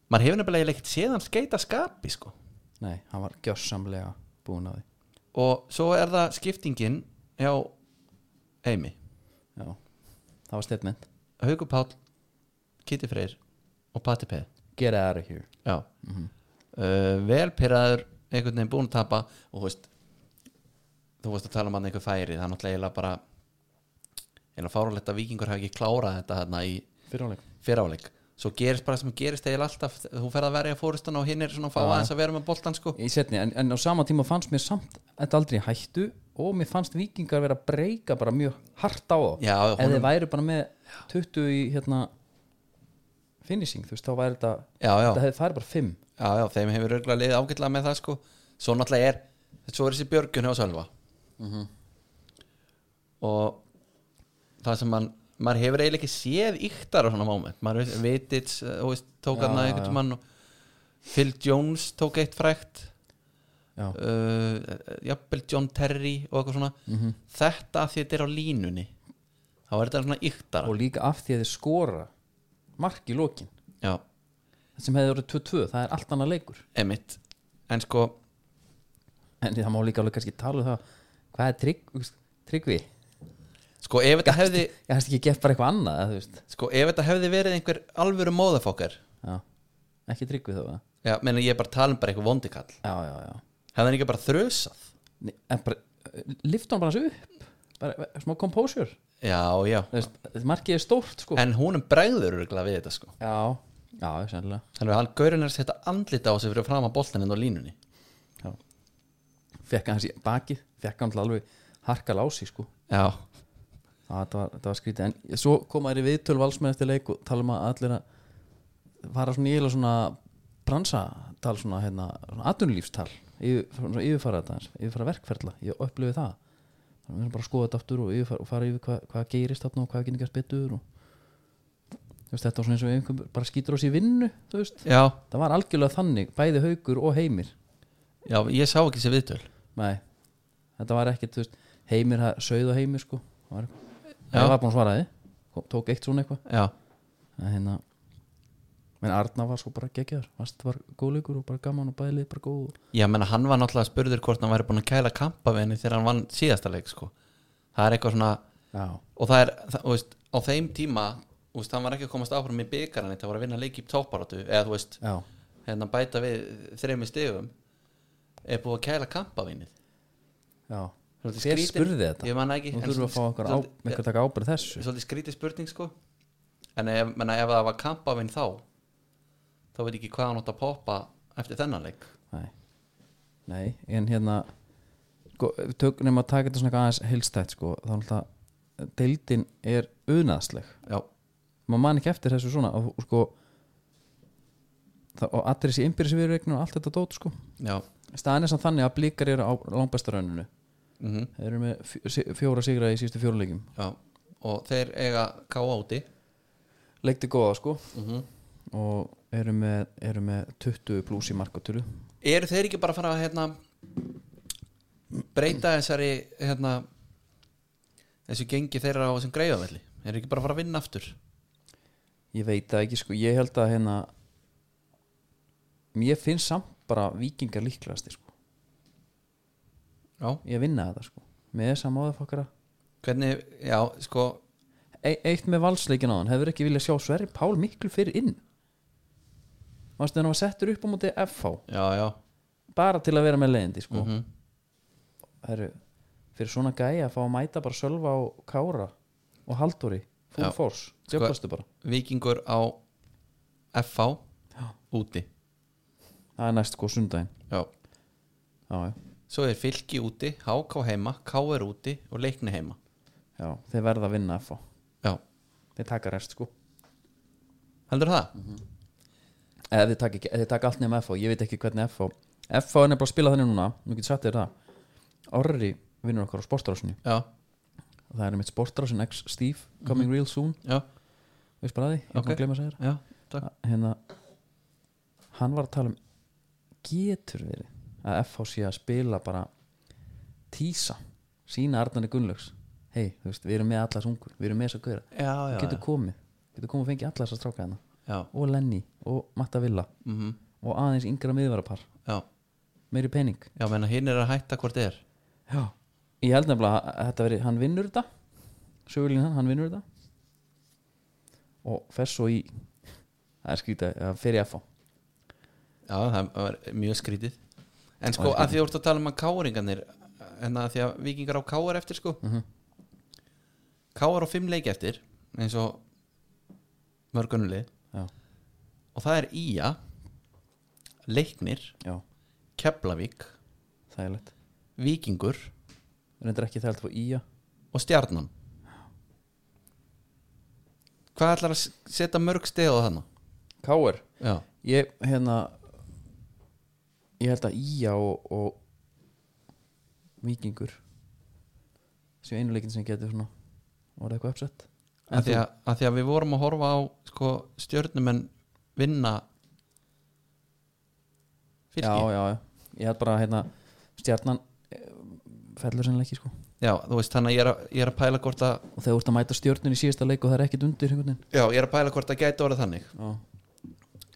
Speaker 2: maður hefur nefnilega eiginlega ekkert séð hann skeita skapi sko
Speaker 1: Nei, hann var gjössamlega búin að því
Speaker 2: og svo er það skiptingin hjá Eimi
Speaker 1: Já, það var statement
Speaker 2: Haugur Páll, Kitty Freyr og Patti P
Speaker 1: Get out of here
Speaker 2: já uh, vel pyrraður, einhvern veginn búin að tapa og þú veist þú veist að tala um hann einhver færi það er náttúrulega eiginlega bara eiginlega fáralegt að vikingur hafi ekki klárað þetta þarna í
Speaker 1: Fyrirháleik
Speaker 2: fyrráleik svo gerist bara það sem gerist eiginlega alltaf þú ferð að verja fórustan og hinn er svona að fá aðeins að vera með boltan sko
Speaker 1: Í setni, en, en á sama tíma fannst mér samt Þetta aldrei í hættu Og mér fannst vikingar vera að breyka bara mjög hart á þá
Speaker 2: Já,
Speaker 1: Ef
Speaker 2: honum-
Speaker 1: þeir væri bara með 20 í hérna Finishing, þú veist, þá væri þetta
Speaker 2: já, já.
Speaker 1: Þetta hefði farið bara 5
Speaker 2: já, já, þeim hefur örgulega liðið ágætlega með það sko svo náttúrulega er, svo er þessi björgun hjá Sölva
Speaker 1: Mhm.
Speaker 2: og það sem man, maður hefur eiginlega ekki séð yktar á svona moment, maður veist, Vitits eh, þú veist, tók
Speaker 1: Já,
Speaker 2: hann
Speaker 1: já,
Speaker 2: að einhvern mann og Phil Jones tók eitt frækt
Speaker 1: Já,
Speaker 2: uh, jafnvel John Terry og eitthvað svona,
Speaker 1: Mhm.
Speaker 2: þetta að því þetta er á línunni þá er þetta svona yktara
Speaker 1: og líka af því að þeir skora Mark í lokin
Speaker 2: já,
Speaker 1: sem hefði orðið 2-2, það er allt annað leikur
Speaker 2: emitt en sko,
Speaker 1: en það má líka alveg kannski tala um það hvað er trygg, þú veist, tryggvi
Speaker 2: sko ef þetta hefði
Speaker 1: ég hans ekki gett bara eitthvað annað eða þú veist
Speaker 2: sko ef þetta hefði verið einhver alvöru móðafokkar
Speaker 1: já, ekki tryggvi þó að
Speaker 2: já, menn ég er bara að tala um bara eitthvað vondikall
Speaker 1: já, já, já
Speaker 2: hefði hann ekki bara þrösað
Speaker 1: Nei, en bara, lifta hann bara þessu upp bara, eh, smá composure
Speaker 2: já, já,
Speaker 1: Þú veist, markið er stórt sko
Speaker 2: en húnum bregður örgulega við þetta sko
Speaker 1: já, já, sennilega
Speaker 2: þannig að hann gaurinn er að setja andlita á sig fyrir fram að boltaninn og línunni
Speaker 1: já. fekk hann hans í bakið fekk hann til alveg harkal á sig sko
Speaker 2: já,
Speaker 1: Já, þetta var, þetta var skrítið en svo koma þær í viðtöl valsmenn eftir leik og tala um að allir að fara svona ílega svona bransatal svona, hérna, svona atvinnulífstal yfir, svona yfirfara þetta aðeins, yfirfara verkferla ég upplifi það þannig að við erum bara að skoða þetta aftur og, yfirfara, og fara yfir hvað, hvað gerist þarna og hvað getur gæst betur og þú veist, þetta var svona eins og einhver bara skýtur á sér vinnu þú veist,
Speaker 2: já,
Speaker 1: það var algjörlega þannig bæði haugur og heimir
Speaker 2: já ég sá ekki sér viðtöl
Speaker 1: nei, þetta var ekkert, þú veist heimir, sögð og heimir sko það var,
Speaker 2: Já.
Speaker 1: það var búin að svara þið tók eitt svona eitthvað
Speaker 2: já,
Speaker 1: en hérna menn Arna var svo bara geggjar Vast var góðleikur og bara gaman og bælið bara góð og-
Speaker 2: já, menna hann var náttúrulega spurður hvort hann væri búin að kæla kampavinni þegar hann vann síðasta leik sko það er eitthvað svona
Speaker 1: já,
Speaker 2: og það er, það, þú veist, á þeim tíma þú veist, hann var ekki að komast áfram í byggarann það var að vinna leik í tóparatu eða þú veist,
Speaker 1: já,
Speaker 2: hérna bæta við þremi stigum er búið að kæla kampavinnið
Speaker 1: já
Speaker 2: Svolítið
Speaker 1: Hver
Speaker 2: skrýtin-
Speaker 1: spurði þetta?
Speaker 2: Ég man ekki
Speaker 1: nú
Speaker 2: en
Speaker 1: þurfum við að fá
Speaker 2: svolítið-
Speaker 1: okkur á, einhver taka ábyrð þessu
Speaker 2: Svolítið skrítið spurning sko En ef, menna, ef það var kampavinn þá þá veit ég ekki hvað hann átt að poppa eftir þennan leik
Speaker 1: nei, nei en hérna sko, við tökum að taka þetta svona aðeins helstætt sko, þá er alltaf deildin er unaðsleg
Speaker 2: Já,
Speaker 1: maður man ekki eftir þessu svona og, og sko það, og allir þessi innbyrðisviðurveikinu og allt þetta dót sko
Speaker 2: já,
Speaker 1: staðan er samt þannig að blíkar eru á langbæstarauninu
Speaker 2: mm
Speaker 1: þeir eru með fjó- sí- fjóra sigra í sístu fjóruleikum
Speaker 2: já Og þeir eiga káa úti
Speaker 1: leikti góða sko og eru með, eru með 20 pluss í markatölu
Speaker 2: Eru þeir ekki bara að fara að hérna, breyta þessari hérna, þessu gengi þeirra á þessum greiðavelli Eru ekki bara að fara að vinna aftur
Speaker 1: ég veit það ekki sko, ég held að hérna mér finnst samt bara vikingar líklegasti sko,
Speaker 2: Já,
Speaker 1: ég vinna þetta sko með þessa móðafokkara
Speaker 2: hvernig, já, sko
Speaker 1: e eitt með valsleikin á hann, hefur ekki viljað sjá Sverri Pál miklu fyrir inn varstu þegar hann var settur upp á móti FH,
Speaker 2: Já, já,
Speaker 1: bara til að vera með leiðindi sko,
Speaker 2: mm
Speaker 1: mm fyrir svona gæja að fá að mæta bara Sölva og Kára og Halldóri, full
Speaker 2: Já.
Speaker 1: force,
Speaker 2: Sko-
Speaker 1: djöflastu bara
Speaker 2: Víkingur á FH
Speaker 1: Já.
Speaker 2: úti
Speaker 1: það er næst sko sundaginn
Speaker 2: já.
Speaker 1: já, já.
Speaker 2: Svo er Fylki úti, HK heima KR úti og Leikni heima
Speaker 1: já, þeir verða að vinna FH
Speaker 2: Já,
Speaker 1: þeir taka rest sko
Speaker 2: heldur það?
Speaker 1: eða þeir taka, ekki, eða þeir taka allt nefn FH, ég veit ekki hvernig FH FH er nefnilega að spila þannig núna nú getur satt þér það Orri vinnur okkar á sportrásinni
Speaker 2: Já,
Speaker 1: það er mitt sportrásin X Steve coming real soon,
Speaker 2: já,
Speaker 1: veist bara að því ég
Speaker 2: Mhm. Ok.
Speaker 1: okay. gleyma að segja
Speaker 2: já, takk
Speaker 1: þér hérna, hann var að tala um getur verið að FH sé að spila bara tísa, sína Arnari Gunnlaugs hei, þú veist, við erum með allas ungur við erum með þess að gera,
Speaker 2: Já, já,
Speaker 1: getur komið getur komið og fengið allas að stráka hérna
Speaker 2: já, já,
Speaker 1: og Lenny og Matta Villa
Speaker 2: mhm
Speaker 1: og aðeins yngra miðvarapar
Speaker 2: já,
Speaker 1: meiri pening
Speaker 2: já, menna hinn er að hætta hvort er
Speaker 1: Já. ég held nefnilega að þetta veri hann vinnur þetta sögulín hann, hann vinnur þetta og fer svo í það er skrítið, það fer í FH
Speaker 2: já, það var mjög skrítið en
Speaker 1: Það
Speaker 2: sko,
Speaker 1: er
Speaker 2: að því þú ert að tala um að káringarnir en að því að vikingar á káar eftir sko
Speaker 1: Mhm.
Speaker 2: káar á fimm leik eftir eins og mörgunuli
Speaker 1: Já.
Speaker 2: og það er Ía Leiknir,
Speaker 1: Já,
Speaker 2: Keflavík
Speaker 1: það er lett
Speaker 2: Víkingur
Speaker 1: reyndar ekki þælt fór Ía
Speaker 2: og Stjarnan hvað ætlar að s- setja mörg steg á þannig?
Speaker 1: Káur,
Speaker 2: Já,
Speaker 1: ég hérna ég held að Ía og, og Víkingur sem einu leikin sem getur svona var eitthvað uppsett En
Speaker 2: að því,
Speaker 1: þú-
Speaker 2: að, að því að við vorum að horfa á sko, stjörnumenn vinna fylki
Speaker 1: já, já, já, ég held bara að hérna, stjarnan eh, fellur sennilega ekki sko
Speaker 2: Já, þú veist þannig að ég er að, ég er að pæla hvort að
Speaker 1: og þegar þú ert að mæta stjörnun í síðasta leik og það er ekkit undir einhvern veginn
Speaker 2: já, ég er að pæla hvort að gæti orðið þannig
Speaker 1: já,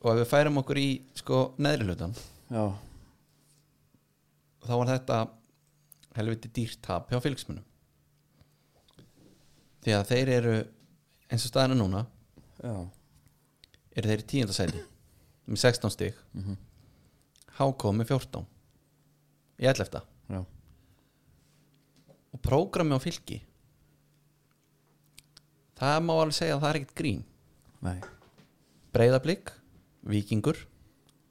Speaker 2: og ef við færum okkur í sko neðri hlutan
Speaker 1: já,
Speaker 2: þá var þetta helviti dýrt tap hjá fylgsmunum því að þeir eru eins og staðinu núna
Speaker 1: já.
Speaker 2: eru þeir í tíundasæti með 16 stig mm
Speaker 1: Mhm.
Speaker 2: með 14 ég ætla eftir
Speaker 1: Já.
Speaker 2: og prógrami á fylki það má alveg segja að það er ekkert grín
Speaker 1: nei,
Speaker 2: Breiðablík, Víkingur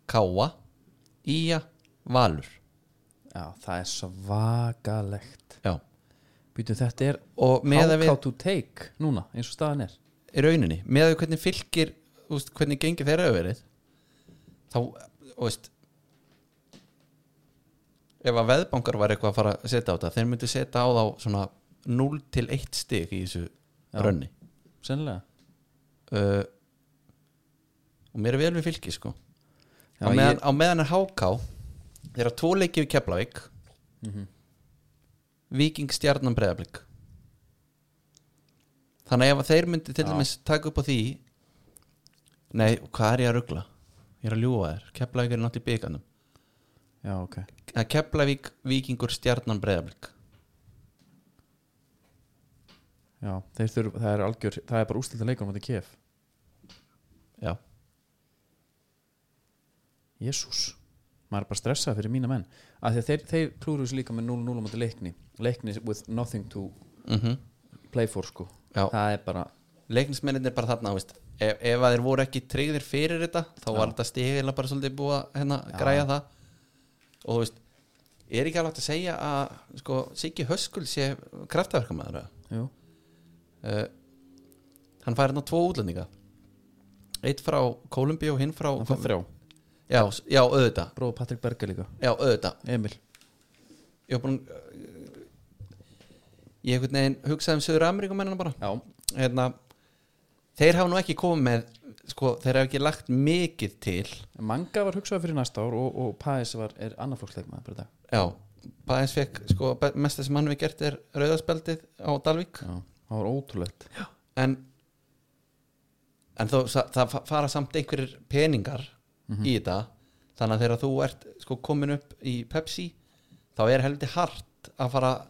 Speaker 2: Káa Ía, Valur
Speaker 1: já, það er svakalegt
Speaker 2: Já.
Speaker 1: býtu þetta er
Speaker 2: og með
Speaker 1: how,
Speaker 2: að við
Speaker 1: how to take núna eins og staðan er
Speaker 2: í rauninni með að við hvernig fylgir þú veist, hvernig gengi þeirra överið þá, þú veist ef að veðbankar var eitthvað að fara að setja á þetta þeir myndu setja á þá svona 0 til 1 stig í þessu
Speaker 1: Já.
Speaker 2: rönni
Speaker 1: sennilega
Speaker 2: uh, og mér er vel við fylgi sko
Speaker 1: Já,
Speaker 2: á, meðan, á meðan er háká þeir eru tvo leikið við Keflavík
Speaker 1: Mhm.
Speaker 2: Víking stjarnan breyðablík þannig að ef að þeir myndi til
Speaker 1: Já.
Speaker 2: dæmis taka upp á því nei, hvað er ég að ruggla? ég er að ljúga þér, Keflavík er náttúrulega í byggarnum
Speaker 1: já, ok
Speaker 2: Að Keflavík, Víkingur, stjarnan breyðablík
Speaker 1: já, þeir þurfa, það er algjör það er bara ústilta leikur um þetta kef
Speaker 2: já,
Speaker 1: jésús maður er bara stressað fyrir mína menn af því að þeir, þeir klúru þessu líka með 0-0 á móti leikni leikni with nothing to
Speaker 2: mhm
Speaker 1: play for sko
Speaker 2: Já.
Speaker 1: það er bara
Speaker 2: leiknismennir er bara þarna veist, ef, ef að þeir voru ekki tryggðir fyrir þetta þá var þetta stigilega bara svolítið búið að hérna, græja það og þú veist, er ekki alveg hægt að segja að sko, Siggi Höskul sé kraftaverkamæður
Speaker 1: jú,
Speaker 2: uh, hann fær hérna tvo útlendinga eitt frá Kolumbíu og hinn frá
Speaker 1: hann fær þrjá
Speaker 2: já, s- já, auðvitað
Speaker 1: bróðu Patrik Berger líka
Speaker 2: já, auðvitað
Speaker 1: Emil
Speaker 2: ég hef búin ég hef veginn hugsaði um Söður Ameríkumennina bara
Speaker 1: já,
Speaker 2: hérna, þeir hafa nú ekki komið með sko, þeir hafa ekki lagt mikið til
Speaker 1: Manga var hugsaða fyrir næsta ár og, og Pæs var, er annarflóksleikmaður bara í dag
Speaker 2: já, Bæðins fekk sko, be- mesta sem hann við gert er rauðarspjaldið á Dalvík
Speaker 1: Já, það var ótrúlegt
Speaker 2: en, en þó, sa- það fa- fara samt einhverjir peningar í þetta þannig að þegar þú ert sko, komin upp í Pepsi þá er heldur hart að fara að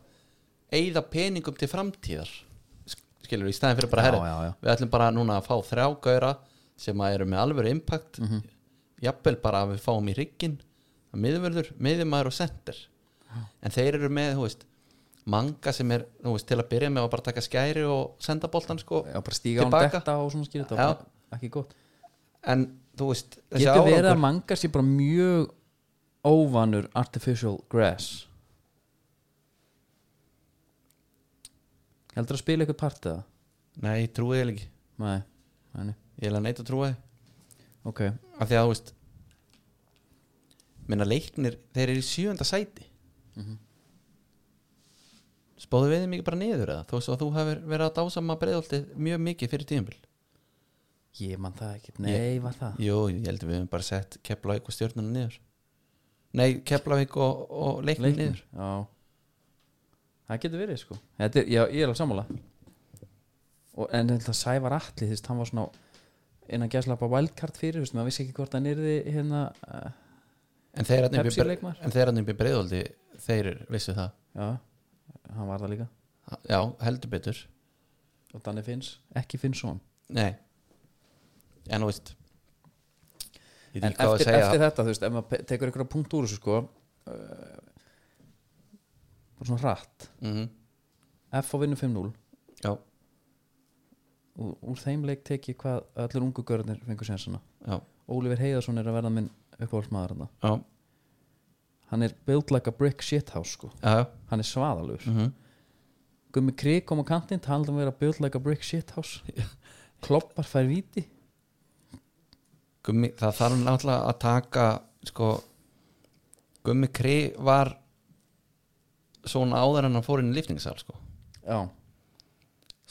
Speaker 2: eyða peningum til framtíðar sk- skilur í staðin fyrir bara herri
Speaker 1: já, já.
Speaker 2: við ætlum bara núna að fá þrjá gauðra sem að eru með alvöru impact
Speaker 1: Mhm.
Speaker 2: jafnvel bara að við fáum í riggin miðvörður, miðvimæður og center en þeir eru með, þú veist manga sem er, þú veist, til að byrja með að bara taka skæri og senda boltan sko
Speaker 1: Já, bara stíga án
Speaker 2: Tilbaka.
Speaker 1: detta og svona skýr þetta
Speaker 2: Já.
Speaker 1: var bara ekki gott
Speaker 2: en þú veist, þessi
Speaker 1: Getur verið
Speaker 2: árangur-
Speaker 1: að Manga sé bara mjög óvanur artificial grass Heldur að spila eitthvað part eða?
Speaker 2: Nei, ég trúi ég ekki
Speaker 1: Nei, nei, nei.
Speaker 2: Ég er að neita að trúa þið
Speaker 1: ok
Speaker 2: Af því að þú veist Minna leiknir, þeir eru í sjöunda sæti Mhm. Spáðu við þeim ekki bara niður eða Þó svo að þú hefur verið að dásama breiðoltið Mjög mikið fyrir tíðumbil
Speaker 1: Ég man það ekkert, nei var það
Speaker 2: Jú, ég held að við hefum bara sett Keflavík og stjórnuna niður Nei, Keflavík og, og leiknir, niður
Speaker 1: já Það getur verið sko Þetta er, já, ég er alveg sammála og, En þetta Sævar Atli, þú veist, hann var svona innan gæslappa wildcard fyrir, þú veist, maður vissi ekki hvort hann yrði hérna, uh,
Speaker 2: en þeir hann uppi í Bre-
Speaker 1: Pepsi-leikmaður.
Speaker 2: en þeir hann uppi í breiðoldi þeir vissu það
Speaker 1: já hann var það líka,
Speaker 2: já, heldur betur
Speaker 1: og Danni Finns ekki Finns son,
Speaker 2: nei en þú veist ég veit
Speaker 1: en
Speaker 2: ekki hvað að
Speaker 1: eftir,
Speaker 2: segja
Speaker 1: eftir þetta þú veist, ef maður pe- tekur einhverja punkt úr þessu sko uh, bara svona hratt
Speaker 2: Mhm,
Speaker 1: F á vinnu 5-0
Speaker 2: já,
Speaker 1: og úr þeim leik teki hvað allir ungu görðnir fengur sénsana
Speaker 2: já,
Speaker 1: Ólífer Heiðarsson er að verða minn uppáhaldsmaður hann
Speaker 2: já,
Speaker 1: hann er built like a brick shithouse sko
Speaker 2: já, já.
Speaker 1: hann er svaðalur
Speaker 2: mhm
Speaker 1: Gummi Krik kom á kantinn, talaði um að vera built like a brick shithouse kloppar fær viti
Speaker 2: Gummi, það þarf náttúrulega að taka sko Gummi Kri var svona áður en hann fór inn í liftingsal sko.
Speaker 1: já,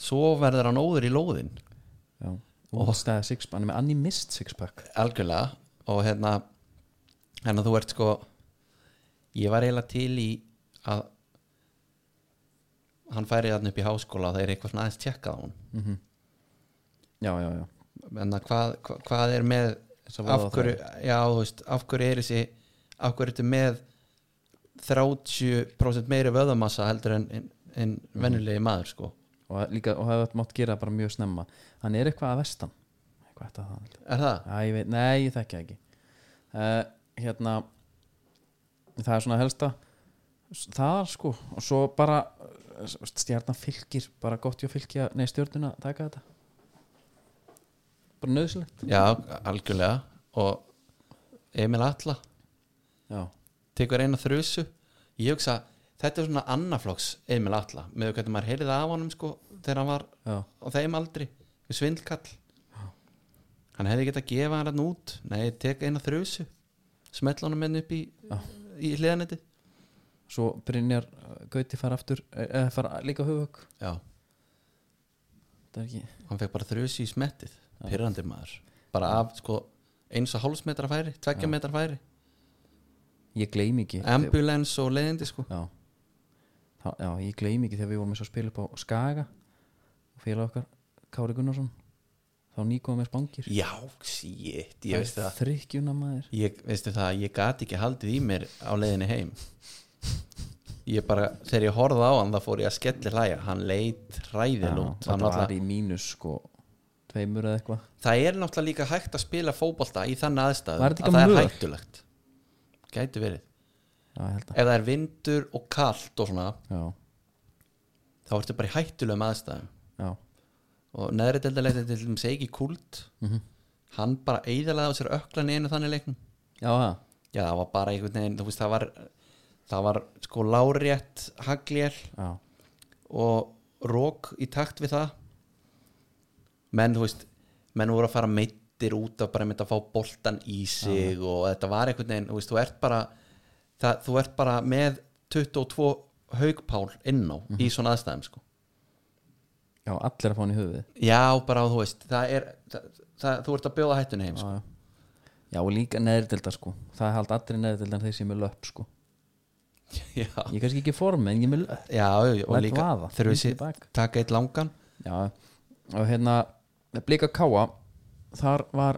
Speaker 2: svo verður hann óður í lóðin
Speaker 1: já og stæða sixpack, hann er með Annie Mist sixpack
Speaker 2: algjörlega og hérna hérna þú ert sko ég var eiginlega til í að hann færi þarna upp í háskóla og það er eitthvað svona aðeins tjekkað á hún
Speaker 1: já, já, já,
Speaker 2: en að Hérna, hvað, hvað, hvað er með
Speaker 1: Svo voða
Speaker 2: af hverju, já, þú veist, af hverju er þessi af hverju ertu með 30% meiri vöðamassa heldur en, en, en venjulegi maður sko
Speaker 1: og líka, og það mátt gera bara mjög snemma hann er eitthvað að vestan eitthvað eftir það held ég.
Speaker 2: er það?
Speaker 1: Já, ég veit, nei, ég þekki það ekki uh, Hérna Það er svona helsta Það sko, og svo bara eh, stjarnan fylgir, bara gott ég að fylgja nei, stjörnuna að taka þetta Bara nöðsilegt
Speaker 2: Já, algjörlega og Emil Atla
Speaker 1: Já,
Speaker 2: tekur eina þrjusu ég hugsa, þetta er svona annaflokks Emil Atla, með hvernig maður heyrði af honum sko, þegar hann var
Speaker 1: já,
Speaker 2: á þeim aldri við svindlkall hann hefði getað að gefa hann hann út nei, tek eina þrjusu smetla hann menn upp í, í hliðanetti
Speaker 1: svo Brynjar eh, Gauti fara aftur, eða fara líka höfug
Speaker 2: já,
Speaker 1: Það er ekki,
Speaker 2: hann fekk bara þrjusu í smettið pyrrandi maður, bara af sko, eins og hálfsmetra færi, tveggja metra færi
Speaker 1: ég gleym ekki
Speaker 2: ambulance og leiðindi sko
Speaker 1: Já Þá- Já, ég gleym ekki þegar við vorum eins og að spila upp á Skaga og félag okkar Kári Gunnarsson þá nýkoðum við spangir
Speaker 2: já, shit, ég veist það
Speaker 1: þrykkjuna maður
Speaker 2: ég, veistu það, ég gat ekki haldið í mér á leiðinni heim ég bara, þegar ég horfði á hann þá fór ég að skelli hlæja, hann leit
Speaker 1: Já,
Speaker 2: hræðil út
Speaker 1: það
Speaker 2: Hann
Speaker 1: var
Speaker 2: náttúrulega-
Speaker 1: í mínus sko tveimur eða eitthvað
Speaker 2: það er náttúrulega líka hægt að spila fótbolta í þannig aðstæðum
Speaker 1: Var þetta
Speaker 2: að
Speaker 1: ekki á
Speaker 2: það er
Speaker 1: möl?
Speaker 2: hættulegt gæti verið,
Speaker 1: já, ég held að
Speaker 2: ef það er vindur og kalt og svona,
Speaker 1: já,
Speaker 2: þá ertu bara í hættulegum aðstæðum
Speaker 1: já,
Speaker 2: og neðri deildarleitið til dæmis ekki kult hann bara eðalaði á sér öklan í einu þannig leiknum
Speaker 1: já, það.
Speaker 2: já, það var bara einhvern veginn, þú veist, það var það var sko lárétt hagljel
Speaker 1: já,
Speaker 2: og rók í takt við það menn, þú veist menn voru að fara meittir út af bara með að fá boltan í sig og þetta var einhvern veginn, þú veist, þú ert bara það, þú ert bara með 22 haugpál inn á í svona aðstæðum, sko
Speaker 1: já, allir að fá hann í höfuðið
Speaker 2: já, bara, þú veist, það er það, það, þú ert að bjóða hættuna heim,
Speaker 1: já,
Speaker 2: sko
Speaker 1: já. já, og líka neðrildildar sko það held allir neðrildildar þeir sem er með löpp sko
Speaker 2: já,
Speaker 1: ég er kannski ekki í formi en ég er með löpp
Speaker 2: já, og
Speaker 1: Læt
Speaker 2: líka
Speaker 1: vaða,
Speaker 2: þurfum
Speaker 1: hringdu í
Speaker 2: við
Speaker 1: bak.
Speaker 2: taka eitt langan
Speaker 1: Já, og hérna Blika Káa þar var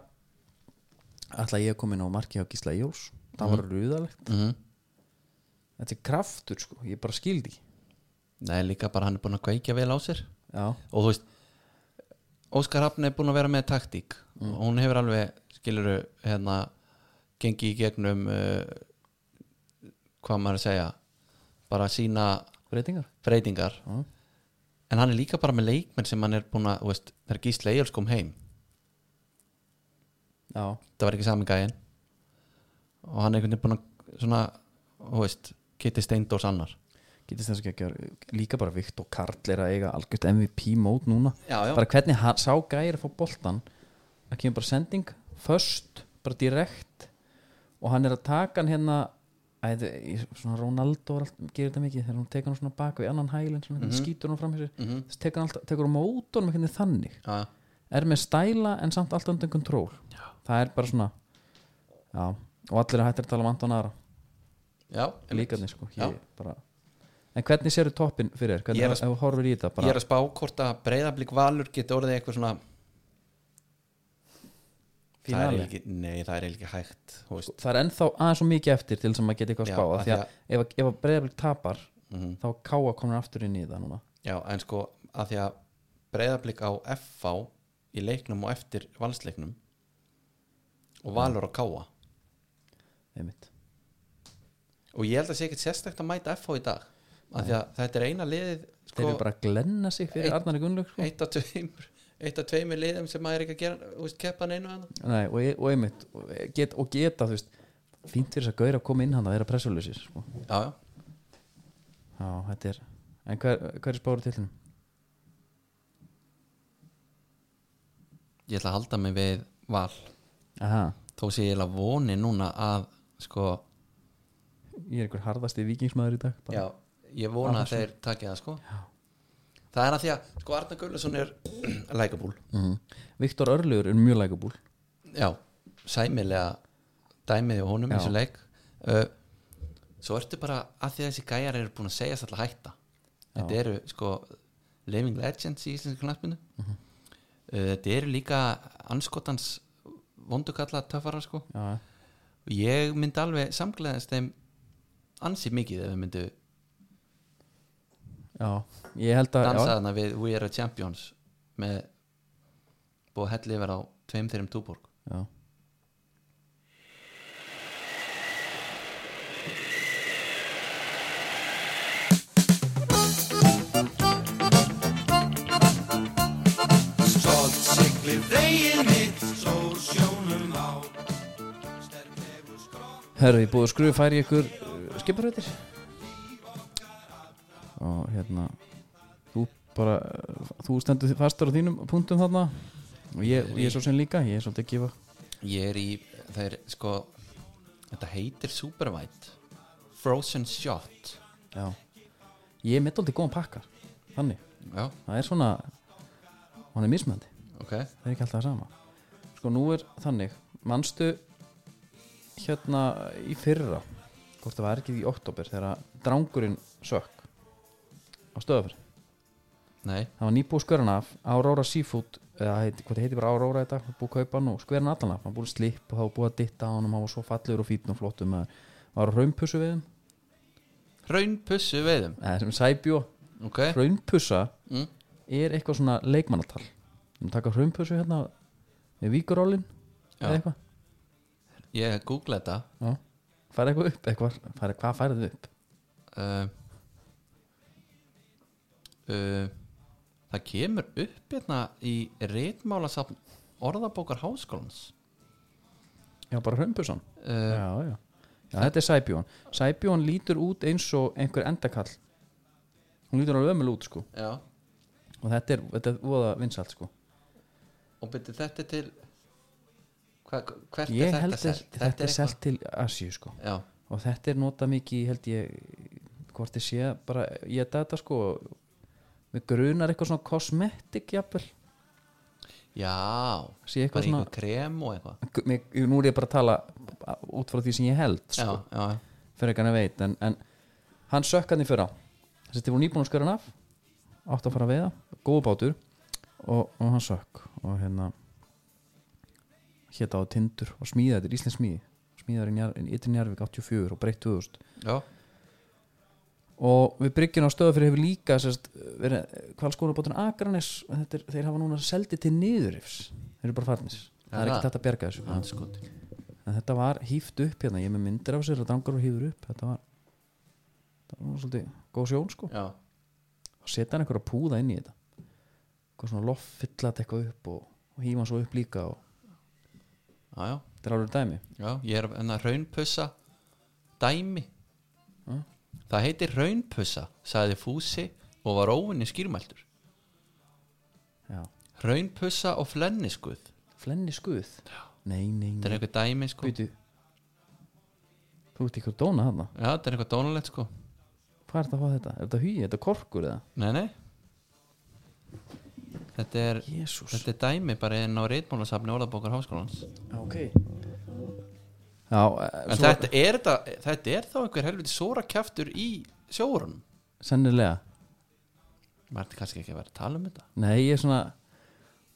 Speaker 1: ætla ég að koma inn á marki á Gísla Jóls það var rúðalegt
Speaker 2: mm
Speaker 1: þetta er kraftur sko, ég bara skildi ekki.
Speaker 2: Nei, líka bara hann er búin að kveikja vel á sér
Speaker 1: já,
Speaker 2: og þú veist Óskar Hafn er búin að vera með taktík og hún hefur alveg, skiluru hérna, gengi í gegnum uh, hvað maður að segja bara sína
Speaker 1: breytingar
Speaker 2: breytingar
Speaker 1: Já.
Speaker 2: en hann er líka bara með leikmenn sem hann er búin að, þú veist, það er gísla Eyjals kom heim
Speaker 1: já,
Speaker 2: það var ekki sami gæinn og hann er einhvern veginn búin að svona, þú veist, Kitty Steindors annar
Speaker 1: getist þess að ekki líka bara Vikt og Karl er að eiga algjört MVP mót núna
Speaker 2: Já, já.
Speaker 1: bara hvernig hann, sá gæri að fá boltan það kemur bara sending först, bara direkt og hann er að taka hann hérna að, þetta- í- svona Ronaldo er allt, gerir þetta mikið þegar hann tekur hann svona bak við annan hælinn svona, mm skýtur hann fram í sér
Speaker 2: Mhm.
Speaker 1: þess tekur hann alltaf, tekur hann mótunum einhvern veginn þannig
Speaker 2: já,
Speaker 1: er með stæla en samt allt undan kontról það er bara svona já, og allir er hættir að tala um Anton Ara
Speaker 2: já,
Speaker 1: líkarnir sko
Speaker 2: Já.
Speaker 1: ég, bara... en hvernig sérðu toppin fyrir þér, hvernig
Speaker 2: Ég er
Speaker 1: ef
Speaker 2: að
Speaker 1: þú horfir í þetta
Speaker 2: Ég
Speaker 1: bara,
Speaker 2: er að spá hvort að breyðablík valur geti orðið eitthvað svona
Speaker 1: Fín
Speaker 2: það er
Speaker 1: alveg.
Speaker 2: ekki, nei, það er eiginlega ekki hægt þú veist.
Speaker 1: það er ennþá aðeins og mikið eftir til sem maður geti eitthvað
Speaker 2: Já,
Speaker 1: að spá af
Speaker 2: af
Speaker 1: því að ef, ef að breyðablik tapar
Speaker 2: Mhm.
Speaker 1: þá káa konar aftur inn í það núna
Speaker 2: Já, en sko að því að breyðablík á FV í leiknum og eftir valsleiknum og valur á káa
Speaker 1: einmitt.
Speaker 2: og ég held að sé ekkert sérstakt að mæta FH í dag að því að þetta er eina liðið
Speaker 1: þeir
Speaker 2: sko,
Speaker 1: eru bara að glenna sig fyrir
Speaker 2: Eitt-
Speaker 1: Arnari Gunnlaug sko.
Speaker 2: eitt af tveimur eitt af tveimur liðum sem maður er ekki að gera þú veist, keppa neinu að
Speaker 1: Nei, og, e- og einmitt og, get, og geta þú veist fínt fyrir þess að gauðra að koma inn hann að vera pressuleysir sko.
Speaker 2: já, já,
Speaker 1: já, þetta er en hver, hver er spáru til hennum?
Speaker 2: ég ætla að halda mig við val
Speaker 1: aha,
Speaker 2: þó sé ég eiginlega voni núna að sko,
Speaker 1: ég er einhver harðasti vikingsmaður í dag bara.
Speaker 2: já, ég vona að þeir takja það sko já. það er að því að sko Arnar Gullason er lækabúl
Speaker 1: Mhm. Viktor Örlugur er mjög lækabúl
Speaker 2: já, sæmilega dæmiði á honum í
Speaker 1: Já.
Speaker 2: þessu leik uh, svo ertu bara að því að þessi gæjar eru búin að segja alltaf hætta þetta eru sko living legends í íslensku knaspinu uh, þetta eru líka anskotans vondukalla töffarar sko
Speaker 1: já,
Speaker 2: og ég myndi alveg samgleðast þeim ansi mikið ef við myndu
Speaker 1: já, ég held að já,
Speaker 2: dansaðna við We Are a Champions með búið að helli yfir á tveim þeirrum túborg
Speaker 1: já.
Speaker 4: Stolt siglir veginn mitt, sól sjónum á. Sterk hefur skrótt,
Speaker 1: Herru, ég búið að skruðu færi ykkur uh, skiparöðir og hérna þú bara, uh, þú stendur þi- fastur á þínum punktum þarna og ég, ég er svo sem líka, ég er svolítið að gefa
Speaker 2: Ég er í, það er sko Þetta heitir Supervite Frozen Shot
Speaker 1: já, ég er meðdóldi góðan pakka þannig,
Speaker 2: Já,
Speaker 1: það er svona hann er mismöndi,
Speaker 2: ok
Speaker 1: það er ekki alltaf það sama sko nú er þannig, manstu hérna í fyrra hvort það var ekki í oktober þegar að drangurinn sökk á stöðafyrir
Speaker 2: Nei,
Speaker 1: það var nýbúið skörun af Aurora Seafood eða heit, hvað heiti bara Aurora þetta var búið að kaupa hann og skveran allan af hann var búið að slip og það var búið að ditta á hann og hann var svo fallegur og fítn og flott um að var á raunpussu við hann
Speaker 2: raunpussu veiðum
Speaker 1: eða sem sæbjó
Speaker 2: Ok,
Speaker 1: raunpussa
Speaker 2: Mm.
Speaker 1: er eitthvað svona leikmannatal við erum taka raunpussu hérna með víkurólin
Speaker 2: Já.
Speaker 1: eða eitthvað
Speaker 2: ég googla þetta
Speaker 1: Já. færa eitthvað upp eitthvað færa, hvað færið þið upp
Speaker 2: uh, uh, Það kemur upp hérna í reitmálasafn Orðabókar Háskólans
Speaker 1: já bara raunpussan
Speaker 2: uh,
Speaker 1: já, já. já þetta er sæbjón sæbjón lítur út eins og einhver endakall hún lítur alveg ömul út sko
Speaker 2: Já,
Speaker 1: og þetta er, þetta er voða vinsalt sko
Speaker 2: og byrja þetta er til hva, Hvert er
Speaker 1: ég
Speaker 2: þetta
Speaker 1: held að
Speaker 2: selt?
Speaker 1: þetta er
Speaker 2: eitthvað-
Speaker 1: selt til Asíu sko
Speaker 2: Já,
Speaker 1: og þetta er notað mikið í, held ég hvort ég sé bara ég þetta þetta sko við grunar eitthvað svona kosmetik jafnvel
Speaker 2: já
Speaker 1: sé
Speaker 2: Bara
Speaker 1: eitthvað svona
Speaker 2: einhver krem og eitthvað
Speaker 1: mig, nú er ég bara að tala út frá því sem ég held sko,
Speaker 2: Já, já, já
Speaker 1: fyrir ekki hann að veit en, en hann sökkaði fyrra þessi þetta voru nýbúin að skörun af átt að fara að veiða, góðu bátur og, og hann sökk og hérna hétt á tindur og smíða, þetta er íslensk smíði smíðar í, Njar, í Ytri Njarvík 84 og breytt 2000
Speaker 2: Já,
Speaker 1: og við bryggjum á stöðu fyrir hefur líka sérst, verið kvalskólabótun Akranes þetta er, þeir hafa núna seldið til niðurifs þeir eru bara farnir það
Speaker 2: Er
Speaker 1: er ekki
Speaker 2: það?
Speaker 1: þetta að bjarga þessu
Speaker 2: hann skoti
Speaker 1: en þetta var hýft upp hérna, ég er með myndir af sér að drangar og hýfur upp þetta var, þetta var nú svolítið góð sjón sko
Speaker 2: Já,
Speaker 1: og setja hann einhverja púða inn í þetta eitthvað svona loft fylla þetta eitthvað upp og, og hýfa hann svo upp líka og
Speaker 2: já, já,
Speaker 1: þetta er alveg dæmi
Speaker 2: já Ég er enn að raunpussa dæmi Það heitir raunpussa sagði Fúsi og var óvinni skýrmæltur
Speaker 1: já.
Speaker 2: Raunpussa og flenniskuð
Speaker 1: flenni skuð nei, nei,
Speaker 2: Þetta er
Speaker 1: nei,
Speaker 2: eitthvað dæmi sko Já,
Speaker 1: býtu þú ert ykkur dóna þarna
Speaker 2: þetta er eitthvað dónalegt sko
Speaker 1: hvað er þetta að fá þetta, er þetta hugi, er þetta korkur eða
Speaker 2: Nei, nei Þetta er,
Speaker 1: Jésús
Speaker 2: þetta er dæmi bara inn á reitmálasafni Ólafbókar Háskólans
Speaker 1: ok já, eh, svo,
Speaker 2: En þetta er, þetta, þetta er þá einhver helviti sóra kjaftur í sjórunum
Speaker 1: sennilega
Speaker 2: Maður ætti kannski ekki að vera að tala um þetta
Speaker 1: nei, ég er svona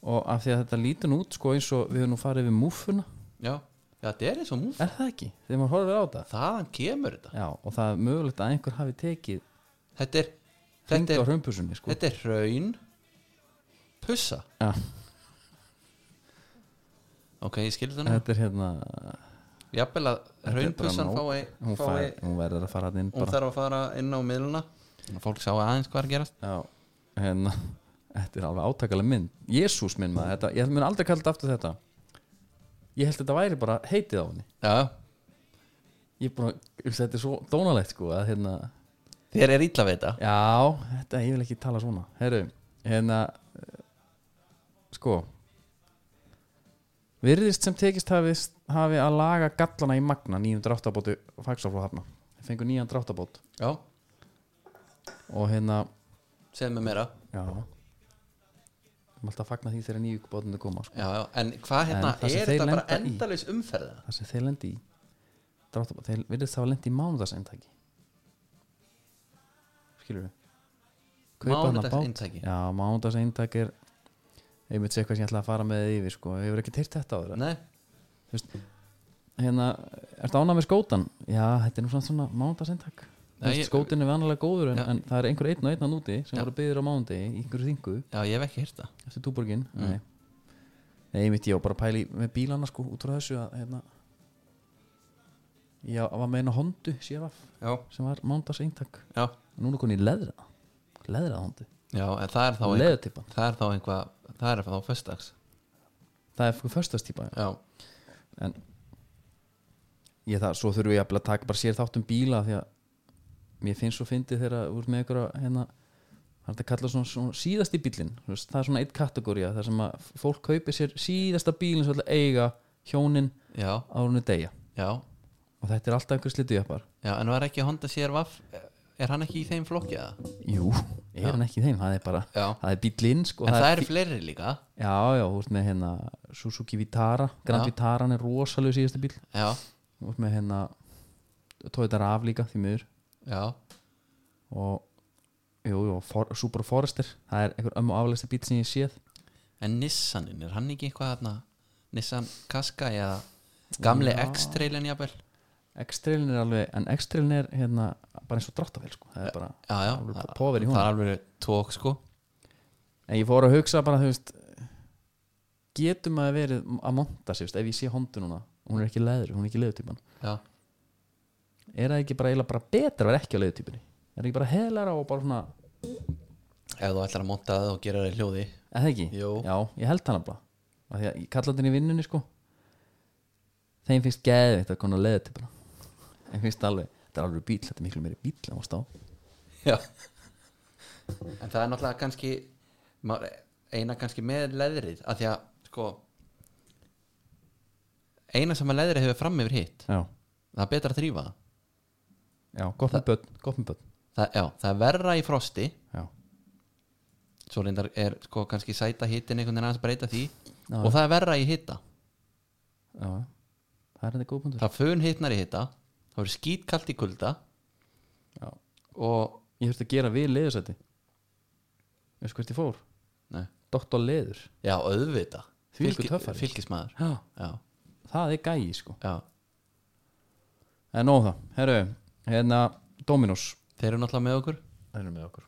Speaker 1: og af því að þetta lítur nú út sko eins og við höfum nú farið við múfuna
Speaker 2: já, já þetta er eins og múf
Speaker 1: er það ekki, þegar maður horfir á það
Speaker 2: þaðan kemur þetta
Speaker 1: já, og það er mögulegt að einhver hafi tekið
Speaker 2: þetta er,
Speaker 1: hringt
Speaker 2: þetta
Speaker 1: á
Speaker 2: er,
Speaker 1: hrömpusunni sko
Speaker 2: þetta er hraun pussa
Speaker 1: Já.
Speaker 2: ok, ég skilði það nú
Speaker 1: þetta er hérna
Speaker 2: jafnvel að
Speaker 1: er
Speaker 2: hraunpussan
Speaker 1: bara nóg.
Speaker 2: fái,
Speaker 1: hún, fær,
Speaker 2: fái
Speaker 1: hún verður að fara þarna inn
Speaker 2: hún
Speaker 1: bara
Speaker 2: þarf að fara inn á miðluna þannig að fólk sá aðeins hvað er að gerast
Speaker 1: já, hérna þetta er alveg átakalega mynd Jésús minn maður, þetta, ég mun aldrei kalla þetta aftur þetta ég held þetta væri bara heitið á henni
Speaker 2: já,
Speaker 1: ég er búin að, þetta er svo dónalegt sko að hérna
Speaker 2: þér er illa við þetta
Speaker 1: Já, þetta, ég vil ekki tala svona Herru, hérna eh, Sko Virðist sem tekist hafi, hafi að laga gallana í magna nýjum dráttabóti fagsaflóð hafna Þeir fengu nýjan dráttabót
Speaker 2: já,
Speaker 1: og hérna
Speaker 2: segð mér meira
Speaker 1: Já Við erum alltaf að fagna því þegar nýju bótinu koma sko.
Speaker 2: já, já. en hvað hérna,
Speaker 1: En það sem þeir
Speaker 2: er þetta bara
Speaker 1: lenda í-
Speaker 2: endalaus umferða
Speaker 1: Það sem þeir lendi í dráttabót Þeir virðist hafa lendi í mánudagsintaki Skilur við
Speaker 2: mánudagsintaki
Speaker 1: Já, mándagsintak er ég myndi segja hvað sem ég ætla að fara með þið yfir sko. ég hefur ekki teirt þetta á þeirra
Speaker 2: nei,
Speaker 1: hérna, ertu ánað með skótan? Já, þetta er nú samt svona mándagsintak
Speaker 2: Nei, ég-
Speaker 1: skótin er vanalega góður en,
Speaker 2: Já.
Speaker 1: en það er einhver einn og einn að núti sem
Speaker 2: Já.
Speaker 1: voru byggðir á mándagi í einhverju þingu
Speaker 2: já, ég hef ekki hýrt það
Speaker 1: eftir túborgin
Speaker 2: Mm.
Speaker 1: Nei, Nei ég myndi ég á bara að pæli með bílana sko út frá þessu að hérna, ég á- var með eina hondu séraf
Speaker 2: já,
Speaker 1: sem var mándagsintak
Speaker 2: já,
Speaker 1: núna koni í leðra leðra hondu,
Speaker 2: já, en það er þá einhver,
Speaker 1: leðutipan
Speaker 2: það er þá einhvað það er þá föstags
Speaker 1: það er sko föstastýpa
Speaker 2: já,
Speaker 1: en ég það, svo þurfum við jafnvel að taka bara sér þátt um bíla því að mér finnst svo fyndið þegar úr með ykkur að hérna það er þetta að kalla svona, svona síðasti bílinn þú veist, það er svona eitt kategória þar sem að fólk kaupir sér síðasta bílinn sem ætla að eiga hjónin
Speaker 2: já,
Speaker 1: á húnu deyja
Speaker 2: já,
Speaker 1: og þetta er alltaf einhver slitið uppar
Speaker 2: já en var ekki Honda CRV er hann ekki í þeim flokki eða?
Speaker 1: jú, er
Speaker 2: Já.
Speaker 1: hann ekki í þeim, það er bara
Speaker 2: já,
Speaker 1: það er bílinn sko
Speaker 2: en það
Speaker 1: er
Speaker 2: eru fleiri líka
Speaker 1: fí- já, já, þú veist með hérna Suzuki Vitara, Grand
Speaker 2: Já.
Speaker 1: Vitara er rosalega síðasta bíl
Speaker 2: já,
Speaker 1: þú veist með hérna Toyota RAV líka því miður
Speaker 2: já,
Speaker 1: og jú, jú, for, Super Forester það er einhver ömmu aflæsta bíl sem ég séð
Speaker 2: en Nissanin er hann ekki eitthvað þarna Nissan Qashqai eða gamli
Speaker 1: Já.
Speaker 2: X-trailin jafnvel
Speaker 1: X-Trailin er alveg, en X-Trailin er hérna, bara eins og dráttavél sko. það er bara,
Speaker 2: já, já,
Speaker 1: alveg
Speaker 2: það-
Speaker 1: pofir í
Speaker 2: það er
Speaker 1: hún
Speaker 2: alveg tók sko
Speaker 1: en ég fór að hugsa bara, þú veist getur maður verið að monta sig, þú veist, ef ég sé hondu núna hún er ekki leður, hún er ekki leðutýpan
Speaker 2: já,
Speaker 1: er það ekki bara, eiginlega bara betra að vera ekki á leðutýpunni er það ekki bara heðlara og bara svona
Speaker 2: ef þú ætlar að monta það og gera það í hljóði
Speaker 1: eða það ekki,
Speaker 2: Jú.
Speaker 1: já, ég held hann bara af því að ég kalla þetta í vinnunni sko þeim finnst geðvitt að konu að leða til bara þeim finnst alveg, þetta er alveg bíl, þetta er miklu meiri bíl en ást á,
Speaker 2: já en það er náttúrulega kannski ma- eina kannski með leðrið að því að sko eina sem að leðrið hefur fram yfir hitt
Speaker 1: já,
Speaker 2: það er betra að þrýfa það.
Speaker 1: já, gott með börn gott með börn,
Speaker 2: það, já, það er verra í frosti
Speaker 1: já,
Speaker 2: svo reyndar er sko kannski sæta hittin einhvern veginn aðeins breyta því
Speaker 1: Já.
Speaker 2: og það er verra í hitta
Speaker 1: já það er þetta góð punktur
Speaker 2: það fön hittnar í hitta það verður skítkallt í kulda
Speaker 1: já.
Speaker 2: og
Speaker 1: ég þurfti að gera við leðursæti veistu hvert ég fór,
Speaker 2: nei,
Speaker 1: doktor leður
Speaker 2: já, auðvita
Speaker 1: Þvílíkur töffari.
Speaker 2: fylgismæður
Speaker 1: já,
Speaker 2: já,
Speaker 1: það er gæi sko
Speaker 2: já.
Speaker 1: en nóg um það, herru, hérna Dominus,
Speaker 2: þeir eru náttúrulega með okkur
Speaker 1: þeir eru með okkur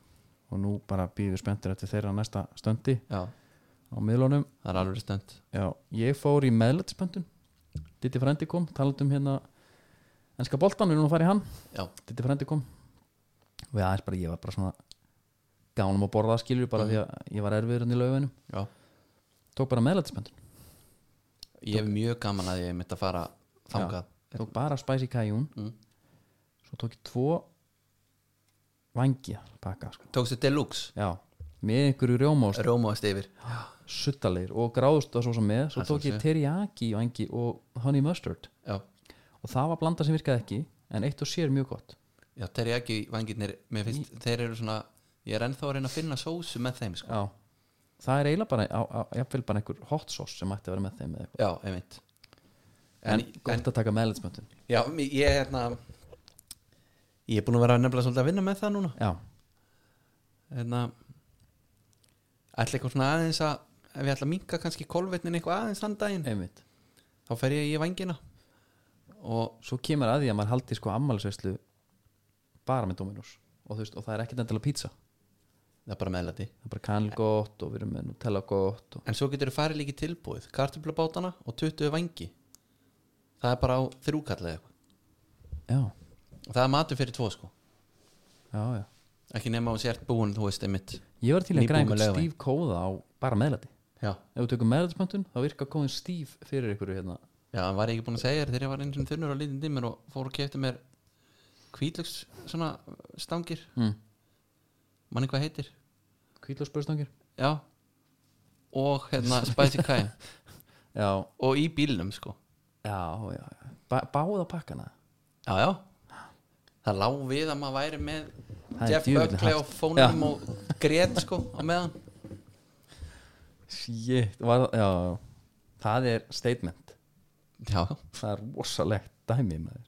Speaker 1: og nú bara býðum við spenntir eftir þeirra næsta stöndi
Speaker 2: já,
Speaker 1: á miðlunum
Speaker 2: það er alveg stönd
Speaker 1: Já, ég fór í meðlætisböndun Ditti frændi kom, talandi um hérna ennska boltan, við erum nú að fara í hann
Speaker 2: já,
Speaker 1: Ditti frændi kom og ég aðeins bara, ég var bara svona gánum að borða skilur bara
Speaker 2: Mhm.
Speaker 1: því að ég var erfiður hann í laufinum
Speaker 2: já
Speaker 1: tók bara meðlætisböndun,
Speaker 2: ég hef mjög gaman að ég mitt að fara þangað
Speaker 1: tók bara spicy kajún
Speaker 2: Mhm.
Speaker 1: svo tók ég tvo vangja pakka sko.
Speaker 2: tókstu deluxe,
Speaker 1: Já, með einhverju rjómást
Speaker 2: rómaðast yfir
Speaker 1: suttalegir og gráðust það svo sem með svo
Speaker 2: Það
Speaker 1: tók ég
Speaker 2: sjálfsögðu.
Speaker 1: teriyaki vangi og honey mustard
Speaker 2: já,
Speaker 1: og það var blanda sem virkaði ekki en eitt og sér mjög gott
Speaker 2: já þeir eru ekki vangirnir mér finnst, þeir eru svona ég er ennþá að reyna að finna sósu með þeim sko.
Speaker 1: Já, það er eiginlega bara á- á- jafnvel bara einhver hot sauce sem ætti að vera með þeim eða eitthvað.
Speaker 2: já, einmitt
Speaker 1: en,
Speaker 2: en,
Speaker 1: gott að taka meðlætsmöndun
Speaker 2: já, mér- ég er hérna ég er búin að vera nefnilega svolítið að vinna með það núna
Speaker 1: Já,
Speaker 2: hérna ætla eitthvað svona aðeins að ef ég ætla að minka kannski kolvetnin eitthvað aðeins þann daginn
Speaker 1: einmitt
Speaker 2: þá fer ég í vængina og
Speaker 1: svo kemur að því að maður haldi sko ammælisveislu bara með Dominos og, þú veist, og það er ekkert endilega pizza það
Speaker 2: það er bara meðlæti
Speaker 1: er bara kanil gott og við erum með Nutella gott og...
Speaker 2: en svo getur þú farið líki tilbúið kartöflubátana og 20 vangi það er bara á þrjúkallega eitthvað
Speaker 1: já,
Speaker 2: og það er matur fyrir tvo sko
Speaker 1: já, já
Speaker 2: ekki nema að þú sért búin þú veist einmitt
Speaker 1: ég var til að
Speaker 2: Nýbúin
Speaker 1: græða
Speaker 2: með
Speaker 1: einhvern
Speaker 2: Laugaveg.
Speaker 1: stíf kóða á bara meðlæti
Speaker 2: já,
Speaker 1: ef við tökum meðlætismöntun þá virka kóðin stíf fyrir ykkur hérna
Speaker 2: já en var ég ekki búin að segja þér þegar ég var eins og þunnur og lítinn dimmur og fór og kefti mér hvítlöks svona stangir
Speaker 1: mm.
Speaker 2: manni hvað heitir
Speaker 1: kvítlósbörstangir
Speaker 2: já og hérna spicy kæm
Speaker 1: já,
Speaker 2: og í bílnum sko
Speaker 1: já, já, já. Ba báða pakkana
Speaker 2: já, já það lá við að maður væri með
Speaker 1: Það er
Speaker 2: Jeff
Speaker 1: djöfulli
Speaker 2: Buckley á
Speaker 1: hart.
Speaker 2: fónum og grét sko á meðan
Speaker 1: shit, var, já, já það er statement
Speaker 2: já, já
Speaker 1: það er rosalegt dæmi maður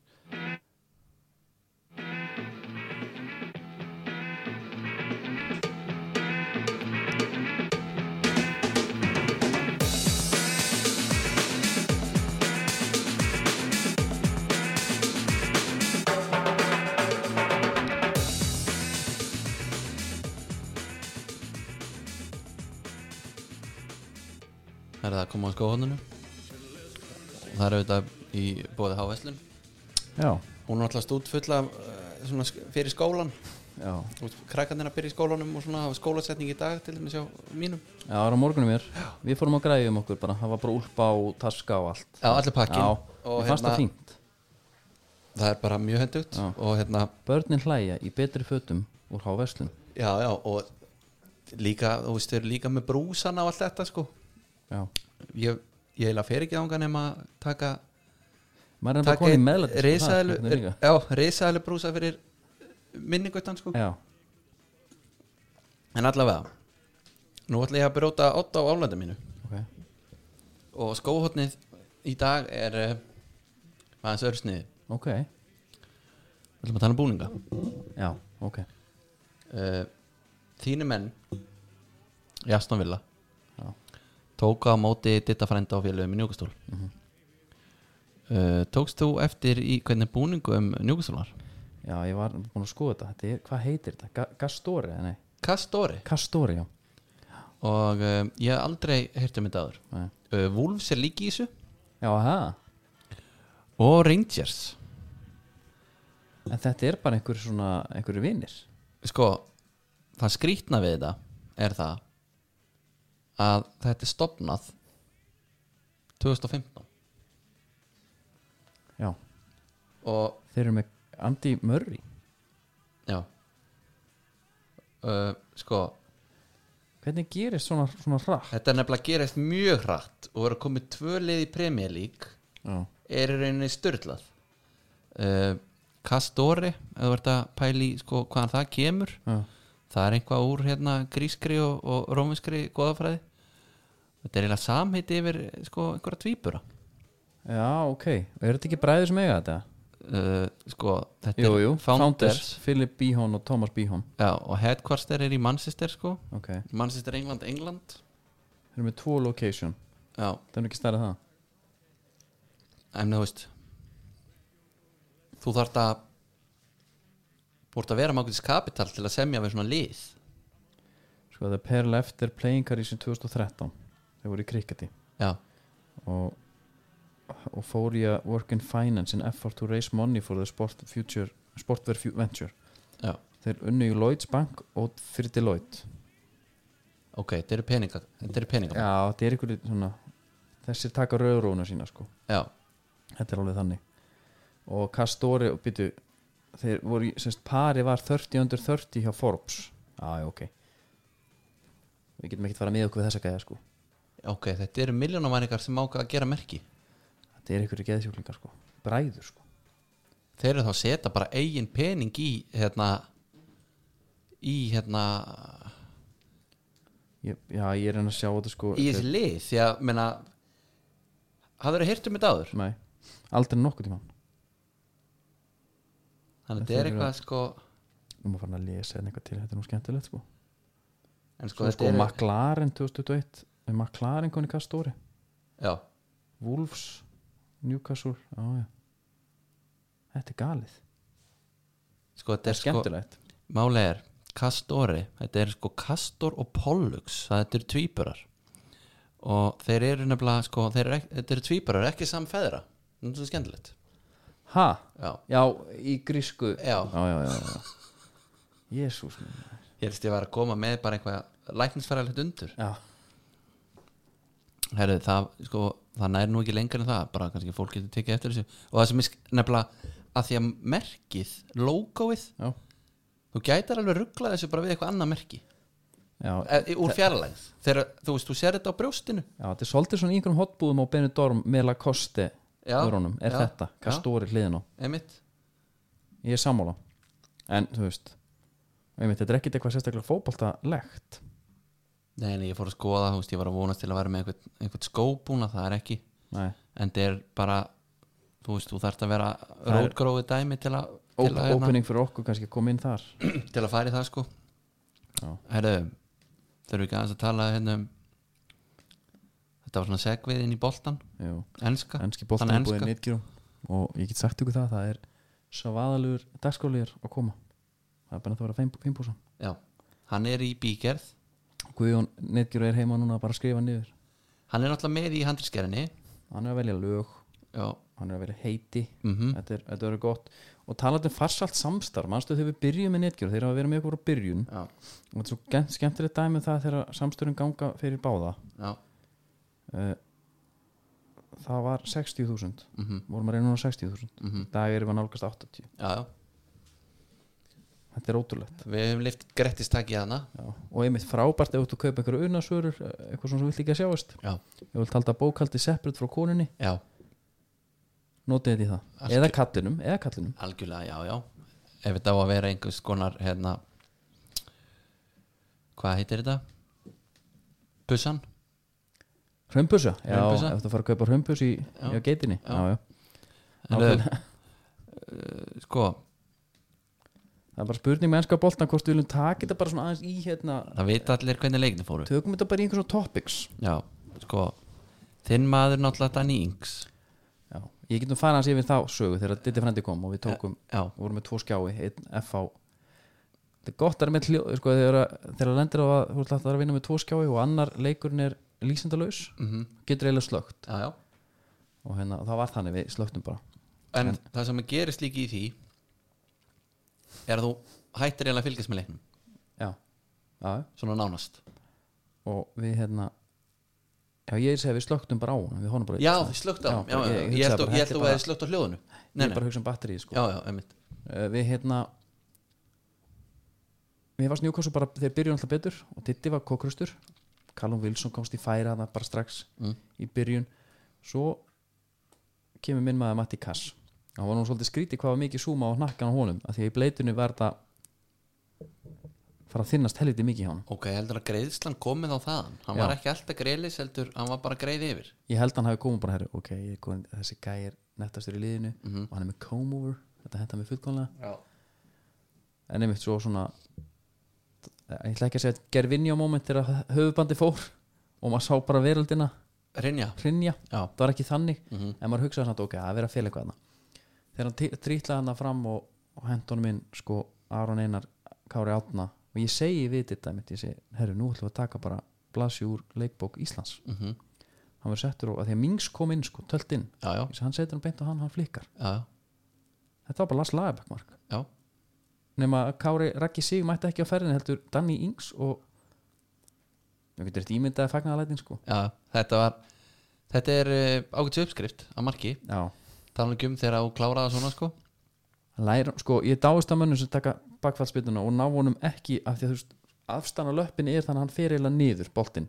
Speaker 2: Það er það að koma á skóhóðunum og það er auðvitað í bóði Háveslun
Speaker 1: já,
Speaker 2: hún er alltaf stútfull af eh, svona, sk- fyrir skólan
Speaker 1: já,
Speaker 2: krakkandir að byrja í skólanum og svona hafa skólasetning í dag til þess að mínum
Speaker 1: já, það var á morgunum mér við fórum á græðum okkur bara, það var bara úlpa og taska og allt
Speaker 2: Já, allir pakkin
Speaker 1: já,
Speaker 2: og
Speaker 1: ég fannst það
Speaker 2: hérna,
Speaker 1: fínt
Speaker 2: það er bara mjög hendugt
Speaker 1: Já.
Speaker 2: og hérna,
Speaker 1: börnin hlæja í betri fötum úr háverslun
Speaker 2: já, já og líka, þú veist, þau eru líka með brúsana og allt þetta sko
Speaker 1: já,
Speaker 2: ég, ég eiginlega fer ekki ánga nema að taka
Speaker 1: maður er bara
Speaker 2: taka
Speaker 1: konið meðlæti sko,
Speaker 2: risaðilu
Speaker 1: það er hvernig líka.
Speaker 2: já, risaðilu brúsa fyrir minninguttan sko
Speaker 1: já,
Speaker 2: En allavega Nú ætla ég að brjóta 8 á álanda mínu
Speaker 1: ok,
Speaker 2: Og skóhotnið í dag er eh, aðeins örsniði
Speaker 1: ok
Speaker 2: Við ætlum að tala um búninga
Speaker 1: já, ok,
Speaker 2: uh, Þínu menn Jaston Villa
Speaker 1: Já.
Speaker 2: Tóka á móti ditta frænda á félögum í njúkastól mm Tókst þú eftir í hvernig búningum njúkastól var?
Speaker 1: já, ég var búin að skoða þetta, þetta er, hvað heitir þetta Ga- gastóri, nei,
Speaker 2: Kastóri
Speaker 1: kastóri, já
Speaker 2: Og uh, ég hef aldrei hirti um þetta aður
Speaker 1: Nei.
Speaker 2: uh, Wolves er líki í þessu
Speaker 1: já, aha
Speaker 2: Og Rangers
Speaker 1: En þetta er bara einhver svona, einhverju vinnir
Speaker 2: sko það skrýtna við þetta er það að þetta er stopnað 2015
Speaker 1: Já,
Speaker 2: og
Speaker 1: þeir eru með Andy Murray
Speaker 2: já uh, sko
Speaker 1: Hvernig gerist svona, svona rætt?
Speaker 2: þetta er nefnilega gerist mjög hratt og er að komið tvö lið í Premier League
Speaker 1: Já,
Speaker 2: er í rauninni styrlað uh, Kastori eða verður að pæli sko hvaðan það kemur
Speaker 1: já,
Speaker 2: það er einhvað úr hérna grískri og, og róminskri goðafræði þetta er eiginlega samheiti yfir sko einhverja tvíbura
Speaker 1: já ok Og er þetta ekki bræðið sem eiga þetta?
Speaker 2: uh, sko, þetta
Speaker 1: Jú,
Speaker 2: er
Speaker 1: jú,
Speaker 2: Founders,
Speaker 1: Philip Bihon og Thomas Bihon
Speaker 2: Já, og Headquarter er í Manchester sko.
Speaker 1: Ok, þeir
Speaker 2: Manchester, England, England
Speaker 1: eru með tvo location
Speaker 2: Já,
Speaker 1: Það er ekki stærra en það
Speaker 2: en þú veist þú þarft að búrt að vera mákvæmst kapital til að semja við svona lið
Speaker 1: Sko, The Pair Left er playing career sem 2013 Þeir voru í kriketi
Speaker 2: Já,
Speaker 1: og, og fór ég að work in finance in effort to raise money for the sport future, sportware fu- venture
Speaker 2: já,
Speaker 1: Þeir unnu í Lloyds Bank og fyrir Deloitte
Speaker 2: ok, þetta eru peninga þetta eru peninga
Speaker 1: Já, þetta er einhverju svona Þessir taka rauðrónu sína sko
Speaker 2: Já,
Speaker 1: Þetta er alveg þannig Og Kastori, býtu Þeir voru, í- semst, pari var 30 under 30 hjá Forbes Já, já, ok Við getum ekkert fara með okkur við þessa gæða sko
Speaker 2: ok, þetta eru miljónamæningar sem ákvað að gera merki
Speaker 1: Þetta er einhverju geðsjúklingar sko Bræður sko
Speaker 2: þeir eru þá að setja bara eigin pening í hérna í hérna
Speaker 1: ég, Já, ég er enn að sjá þetta sko
Speaker 2: í þessi lið því að, menna hafður að hirtum um þetta áður
Speaker 1: Nei, aldrei nokkuð tíma
Speaker 2: þannig
Speaker 1: Þetta
Speaker 2: að þetta er
Speaker 1: er
Speaker 2: eitthvað sko
Speaker 1: Nú maður farin að lesa hérna eitthvað til Þetta er nú skemmtilegt sko
Speaker 2: en sko,
Speaker 1: Svo
Speaker 2: þetta
Speaker 1: sko
Speaker 2: er,
Speaker 1: McLaren 2021 er McLaren komin í kastóri
Speaker 2: já,
Speaker 1: Wolves, Newcastle já, já. þetta er galið
Speaker 2: sko þetta
Speaker 1: þetta
Speaker 2: er
Speaker 1: er
Speaker 2: sko
Speaker 1: skemmtilegt
Speaker 2: Máli er Kastori, þetta er sko Kastor og Pollux það þetta eru tvíburar og þeir eru nefnilega sko, þeir eru, ek- þetta eru tvíburar, ekki samfeðra þetta er svo skemmtilegt
Speaker 1: ha,
Speaker 2: já,
Speaker 1: já, í grísku
Speaker 2: já,
Speaker 1: já, já, já, já. Jésús minn
Speaker 2: ég helst ég var að koma með bara eitthvað læknisfæraðlegt undur
Speaker 1: já,
Speaker 2: Herri, það, sko, það nær nú ekki lengur en það bara kannski fólk getur tekið eftir þessu og það sem er sk- nefnilega að því að merkið, logoið
Speaker 1: já,
Speaker 2: þú gætar alveg rugglað þessu bara við eitthvað annað merki
Speaker 1: já,
Speaker 2: e, úr fjarlægð þegar þú veist, þú sér þetta á brjóstinu
Speaker 1: já þetta er svolítið svona í einhverjum hotbúðum á Benidorm með Lacoste
Speaker 2: Já,
Speaker 1: vörunum, er
Speaker 2: já,
Speaker 1: þetta, kastóri hliðin á
Speaker 2: einmitt
Speaker 1: ég er sammála en þú veist einmitt, þetta er ekkit eitthvað sérstaklega fótboltalegt
Speaker 2: Nei, nei, ég fór að skoða, þú veist, ég var að vonast til að vera með einhvern, einhvern skóbúna, það er ekki
Speaker 1: nei,
Speaker 2: en það er bara, þú veist, þú þarft að vera
Speaker 1: er-
Speaker 2: rótgrófið dæmi til að til
Speaker 1: Op
Speaker 2: að, hérna,
Speaker 1: opening fyrir okkur kannski kom inn þar
Speaker 2: til að fara í það, sko
Speaker 1: Já.
Speaker 2: Herðu, þurfum við ekki aðeins að tala hérna um þetta var svona segvið inn í boltan
Speaker 1: Jú.
Speaker 2: enska,
Speaker 1: ennski
Speaker 2: Þannig
Speaker 1: boltan er búið
Speaker 2: enska.
Speaker 1: nýttgjörum og ég get sagt ykkur það, það er svaðalugur dagskóliðir að koma það er bara að það vera feimbúsa
Speaker 2: já, hann er í bígerð
Speaker 1: Guðjón nýttgjör er heima núna bara að skrifa niður
Speaker 2: hann er náttúrulega með í handriskerinni
Speaker 1: hann er að velja lög,
Speaker 2: já,
Speaker 1: hann er að velja heiti
Speaker 2: mhm
Speaker 1: þetta er, þetta er gott og talandi um farsalt samstarf, mannstu þegar við byrjum með nýttgjör þeir hafa verið með okkur á byrjun
Speaker 2: já,
Speaker 1: og þetta er svo gen- skemmtilegt dæmi um það þegar samstörum ganga fyrir báða
Speaker 2: já,
Speaker 1: Eh, það var 60.000
Speaker 2: mhm,
Speaker 1: vorum að reyna núna 60.000
Speaker 2: mhm,
Speaker 1: í dag erum við að nálgast 80
Speaker 2: já, já
Speaker 1: þetta er ótrúlegt
Speaker 2: við hefum lift grettistaki að hana
Speaker 1: Já, og einmitt frábært ef þú kaupa einhverju unnasörur eitthvað svona sem vilt ekki að sjáast
Speaker 2: já,
Speaker 1: ég vil talda bókaldi separate frá konunni
Speaker 2: já
Speaker 1: notið þetta í það,
Speaker 2: Algjör-
Speaker 1: eða kallinum eða kallinum,
Speaker 2: Algjörlega, já, já Ef þetta á að vera einhvers konar hérna Hvað heitir þetta? Pussan?
Speaker 1: hrömbusa já,
Speaker 2: Hraunbussa?
Speaker 1: ef þú fara að kaupa hrömbus í,
Speaker 2: Já.
Speaker 1: í á geitinni
Speaker 2: Já.
Speaker 1: já, já.
Speaker 2: Herðu,
Speaker 1: Nákvæmlega.
Speaker 2: Sko,
Speaker 1: það er bara spurning með ennska boltan hvort við viljum taka þetta bara svona aðeins í hérna,
Speaker 2: það vita allir hvernig leikni fóru
Speaker 1: tökum þetta bara í einhverjum topics
Speaker 2: Já, sko Þinn maður náttúrulega Danny Ings
Speaker 1: já. ég getum fara aðeins yfir þá sögu þegar Ditti frendi kom og við tókum
Speaker 2: Já,
Speaker 1: og vorum með tvo skjái, einn FH þetta er gott að vera með hljó, sko, þegar, þegar lendir á að þú ætlar að vinna með tvo skjái og annar leikurinn er lýsendalaus
Speaker 2: mhm,
Speaker 1: getur eiginlega slögt
Speaker 2: já, já
Speaker 1: og hérna, og það var þannig við slögtum bara
Speaker 2: En það sem gerist líki í því Er að þú hættir eiginlega að fylgjast með leiknum
Speaker 1: já, já,
Speaker 2: Svona nánast
Speaker 1: og við hérna já, ég segi að við slögtum bara á hún við honum bara
Speaker 2: Já, þið slögt á já,
Speaker 1: bara-
Speaker 2: já, Ég
Speaker 1: hugsaði
Speaker 2: held
Speaker 1: bara,
Speaker 2: þú- ég
Speaker 1: þetta
Speaker 2: held
Speaker 1: er
Speaker 2: þú
Speaker 1: bara-
Speaker 2: að þið slögt á hljóðinu
Speaker 1: ég
Speaker 2: Nei,
Speaker 1: er
Speaker 2: nei,
Speaker 1: bara að hugsa um batterið sko.
Speaker 2: já, já, einmitt
Speaker 1: uh, við hérna við varst njúkásu bara, þeir byrjuðu alltaf betur og Ditti var kokkrustur Callum Wilson komst í færa það bara strax
Speaker 2: Mm.
Speaker 1: í byrjun svo kemur minn maður Matti Kass hann var nú svolítið skrítið hvað var mikið súma á hnakkan á honum af því að í bleitunni var það fara að þinnast helviti mikið hjá hann
Speaker 2: Ok, heldur að greiðslan komið á þaðan Hann
Speaker 1: Já.
Speaker 2: var ekki alltaf greiðlis, heldur hann var bara greið yfir
Speaker 1: ég held hann hafi komið bara herri ok, ég er komin, þessi gæi er nettastur í liðinu
Speaker 2: Mhm.
Speaker 1: og hann er með comb over þetta henda mig fullkomlega
Speaker 2: Já,
Speaker 1: en einmitt svo svona ég ætla ekki að segja að gervinja moment þegar höfubandi fór og maður sá bara veröldina
Speaker 2: Rinja
Speaker 1: hrinja,
Speaker 2: Já,
Speaker 1: það var ekki þannig
Speaker 2: Mhm.
Speaker 1: en maður hugsaði samt ok, það er verið að fela eitthvað þarna. þegar hann trítlaði hann fram og, og hendunum minn sko Aron Einar Kári Átna og ég segi við þetta einmitt, ég segi, herru, nú ætlum við að taka bara blasju úr leikbók Íslands
Speaker 2: mm
Speaker 1: hann verið settur og að því að Mings kom inn sko, tölt inn
Speaker 2: já, já,
Speaker 1: Ég sagði, hann setur hann beint á hann, hann flikkar
Speaker 2: já,
Speaker 1: þetta var bara Lars Lagerbæk mark
Speaker 2: já,
Speaker 1: nema að Kári Raggi Sig mætti ekki á ferðin heldur Danny Ings og ég getur þetta ímyndaði fagnaðalætin sko
Speaker 2: já Þetta var Þetta er uh, ágætis uppskrift að marki
Speaker 1: já,
Speaker 2: Talan ekki um þegar þú kláraða svona sko
Speaker 1: læra, sko ég dáist að mönnum sem taka bakfallspituna og ná honum ekki af því að þú veist afstana löppin er þannig að hann fer eiginlega niður boltinn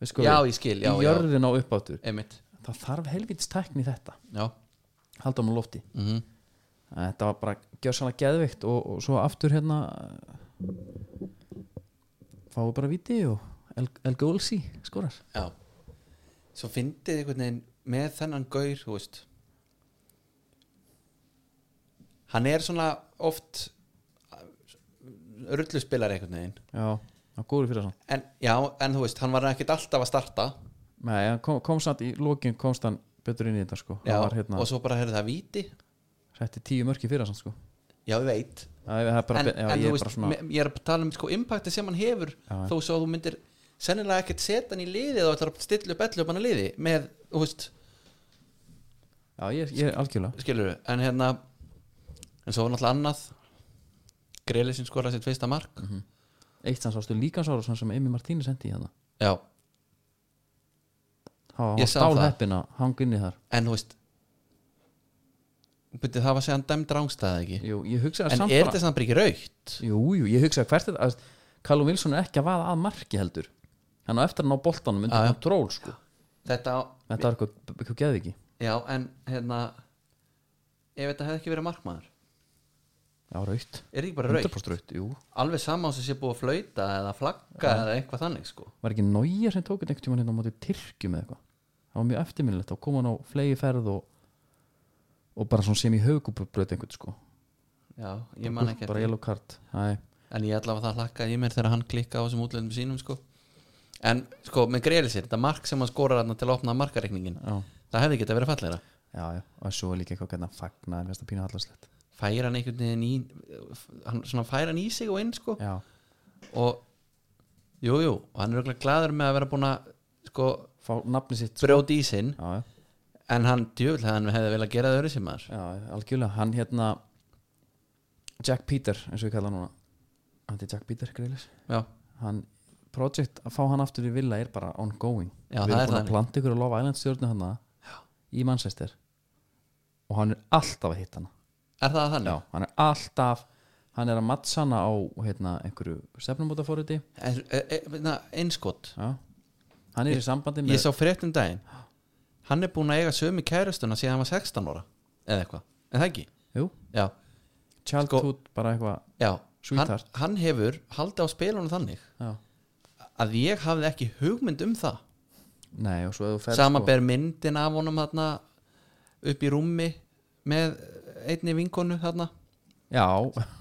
Speaker 1: við sko
Speaker 2: Já, ég skil, já,
Speaker 1: í
Speaker 2: já,
Speaker 1: jörðin á uppáttur
Speaker 2: einmitt
Speaker 1: það þarf helvitist tækni í þetta
Speaker 2: Já,
Speaker 1: halda hann á lofti
Speaker 2: mm
Speaker 1: En þetta var bara gjörsanlega geðveikt og, og svo aftur hérna fáið bara viti og El, El Gólsi skorar
Speaker 2: já Svo fyndið einhvern veginn með þennan gaur, þú veist Hann er svona oft rulluspilari einhvern veginn
Speaker 1: já, hann góður fyrir þessan
Speaker 2: en, já, en þú veist, hann var ekkert alltaf að starta
Speaker 1: Nei, hann kom, kom samt í lokin komst hann betur inn í þetta sko
Speaker 2: já,
Speaker 1: hann var hérna,
Speaker 2: og svo bara heyrðu það víti
Speaker 1: setti tíu mörki fyrir þessan sko
Speaker 2: já, ég veit
Speaker 1: Það er bara,
Speaker 2: en,
Speaker 1: já,
Speaker 2: en
Speaker 1: ég er
Speaker 2: þú veist,
Speaker 1: bara svona
Speaker 2: me- ég er að tala um sko impacti sem hann hefur
Speaker 1: Já.
Speaker 2: þó svo að þú myndir sennilega ekkert setja hann í liði þá ætlar að stilla upp ellu upp hann að liði með, þú veist,
Speaker 1: Já, ég, ég er algjörlega
Speaker 2: skilur en hérna, en svo var náttúrulega annað Grelis sem skoraði sitt fyrsta mark
Speaker 1: Mhm. Eitt hans ástu líkansára sem Emi Martíni sendi í hérna
Speaker 2: já,
Speaker 1: Há,
Speaker 2: Ég
Speaker 1: Há
Speaker 2: sá það.
Speaker 1: stálheppina, hang inn í þar
Speaker 2: en þú veist byrja, það var segjan dæmd rángstæði ekki
Speaker 1: Jú, ég hugsaði
Speaker 2: en
Speaker 1: samt
Speaker 2: er
Speaker 1: bara-
Speaker 2: þetta samt bara ekki raukt
Speaker 1: Jú, jú, ég hugsaði hvert þetta að Callum Wilson er ekki að vaða að marki heldur hann á eftir að ná boltanum undir
Speaker 2: Já, já.
Speaker 1: kontról sko.
Speaker 2: þetta, á-
Speaker 1: þetta er eitthvað, eitthvað geði ekki
Speaker 2: já, en hérna ef þetta hefði ekki verið markmaður
Speaker 1: Já, raut,
Speaker 2: er ekki bara raukt
Speaker 1: 100% raut, jú
Speaker 2: alveg sama á sem sé búið að flauta eða flagga eða eitthvað þannig sko
Speaker 1: Var ekki nája sem tók þetta einhvern tímann hérna á móti Tyrkjum eða eitthvað Það var mjög eftirminnilegt, þá kom hann á flegi ferð og, og bara svona sem í högubbröð einhvern sko
Speaker 2: já, ég man ekki
Speaker 1: Bara
Speaker 2: eftir
Speaker 1: yellow card, hæ
Speaker 2: en ég ætla að það hlakkaði í mér þegar hann klikka á þessum útlöndum sínum sko en sko með greilisir, þetta mark sem hann skorar þarna til að opna markareikningin
Speaker 1: Já,
Speaker 2: það hefði geta verið fallegra
Speaker 1: já, já, og svo er líka eitthvað gæna fagna, mér finnst það pínu hallarslegt
Speaker 2: færa hann einhvern veginn í hann, svona færa hann í sig og inn sko
Speaker 1: Já,
Speaker 2: og jú, jú, og hann er auðvitað gladur með að vera búin að sko
Speaker 1: fá nafni sitt sko.
Speaker 2: brjóti í sinn
Speaker 1: Já, já
Speaker 2: en hann djöfull hefði hann hefði vel að gera það öðru sem maður
Speaker 1: Já, algjörlega, hann hérna Jack Peter, eins og ég kalla hann núna hann er Jack Peter, greiðlis
Speaker 2: já,
Speaker 1: hann, project að fá hann aftur í villa er bara ongoing
Speaker 2: Já,
Speaker 1: við erum búin
Speaker 2: það er
Speaker 1: að
Speaker 2: þannig.
Speaker 1: planta ykkur að lofa Island stjórnu hann í Manchester og hann er alltaf að hitta hana
Speaker 2: er það þannig?
Speaker 1: Já, hann er alltaf hann er að matsa hana á hérna, einhverju stefnumótaforriti
Speaker 2: Er- er- er- e, na, einskott
Speaker 1: hann er í sambandi
Speaker 2: ég
Speaker 1: með
Speaker 2: sá fréttum daginn hann er búin að eiga sömu kærustuna síðan hann var 16 ára eða eitthvað, en það ekki
Speaker 1: jú,
Speaker 2: já, Sko-
Speaker 1: childhood, bara eitthvað
Speaker 2: já hann,
Speaker 1: Sweetheart.
Speaker 2: hann hefur haldið á spilunum þannig
Speaker 1: já.
Speaker 2: að ég hafði ekki hugmynd um það
Speaker 1: nei, og svo ef þú ferð
Speaker 2: sama
Speaker 1: sko-
Speaker 2: ber myndin af honum þarna upp í rúmi með einni vinkonu þarna
Speaker 1: Já,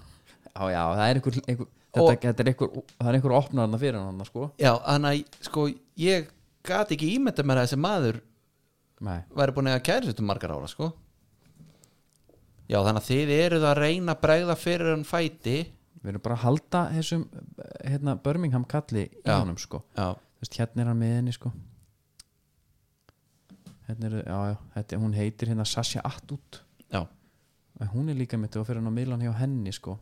Speaker 1: já, já, það er einhver, einhver þetta,
Speaker 2: Og-
Speaker 1: þetta er einhver, það er einhver opnaðarna fyrir hann sko.
Speaker 2: já, þannig að sko ég gat ekki ímynda mér að þessi maður
Speaker 1: Nei,
Speaker 2: væri búin að eiga kærustu margar ára sko já, þannig að þið eruð að reyna að bregða fyrir hann fæti
Speaker 1: við erum bara að halda þessum, hérna, Birmingham kalli í
Speaker 2: Já.
Speaker 1: honum, sko
Speaker 2: já,
Speaker 1: Þú veist, hérna er hann með henni, sko Hérna er, já, já, þetta, hún heitir hérna Sasha Atut
Speaker 2: já
Speaker 1: En Hún er líka mitt og fyrir hann á miðlan hjá henni, sko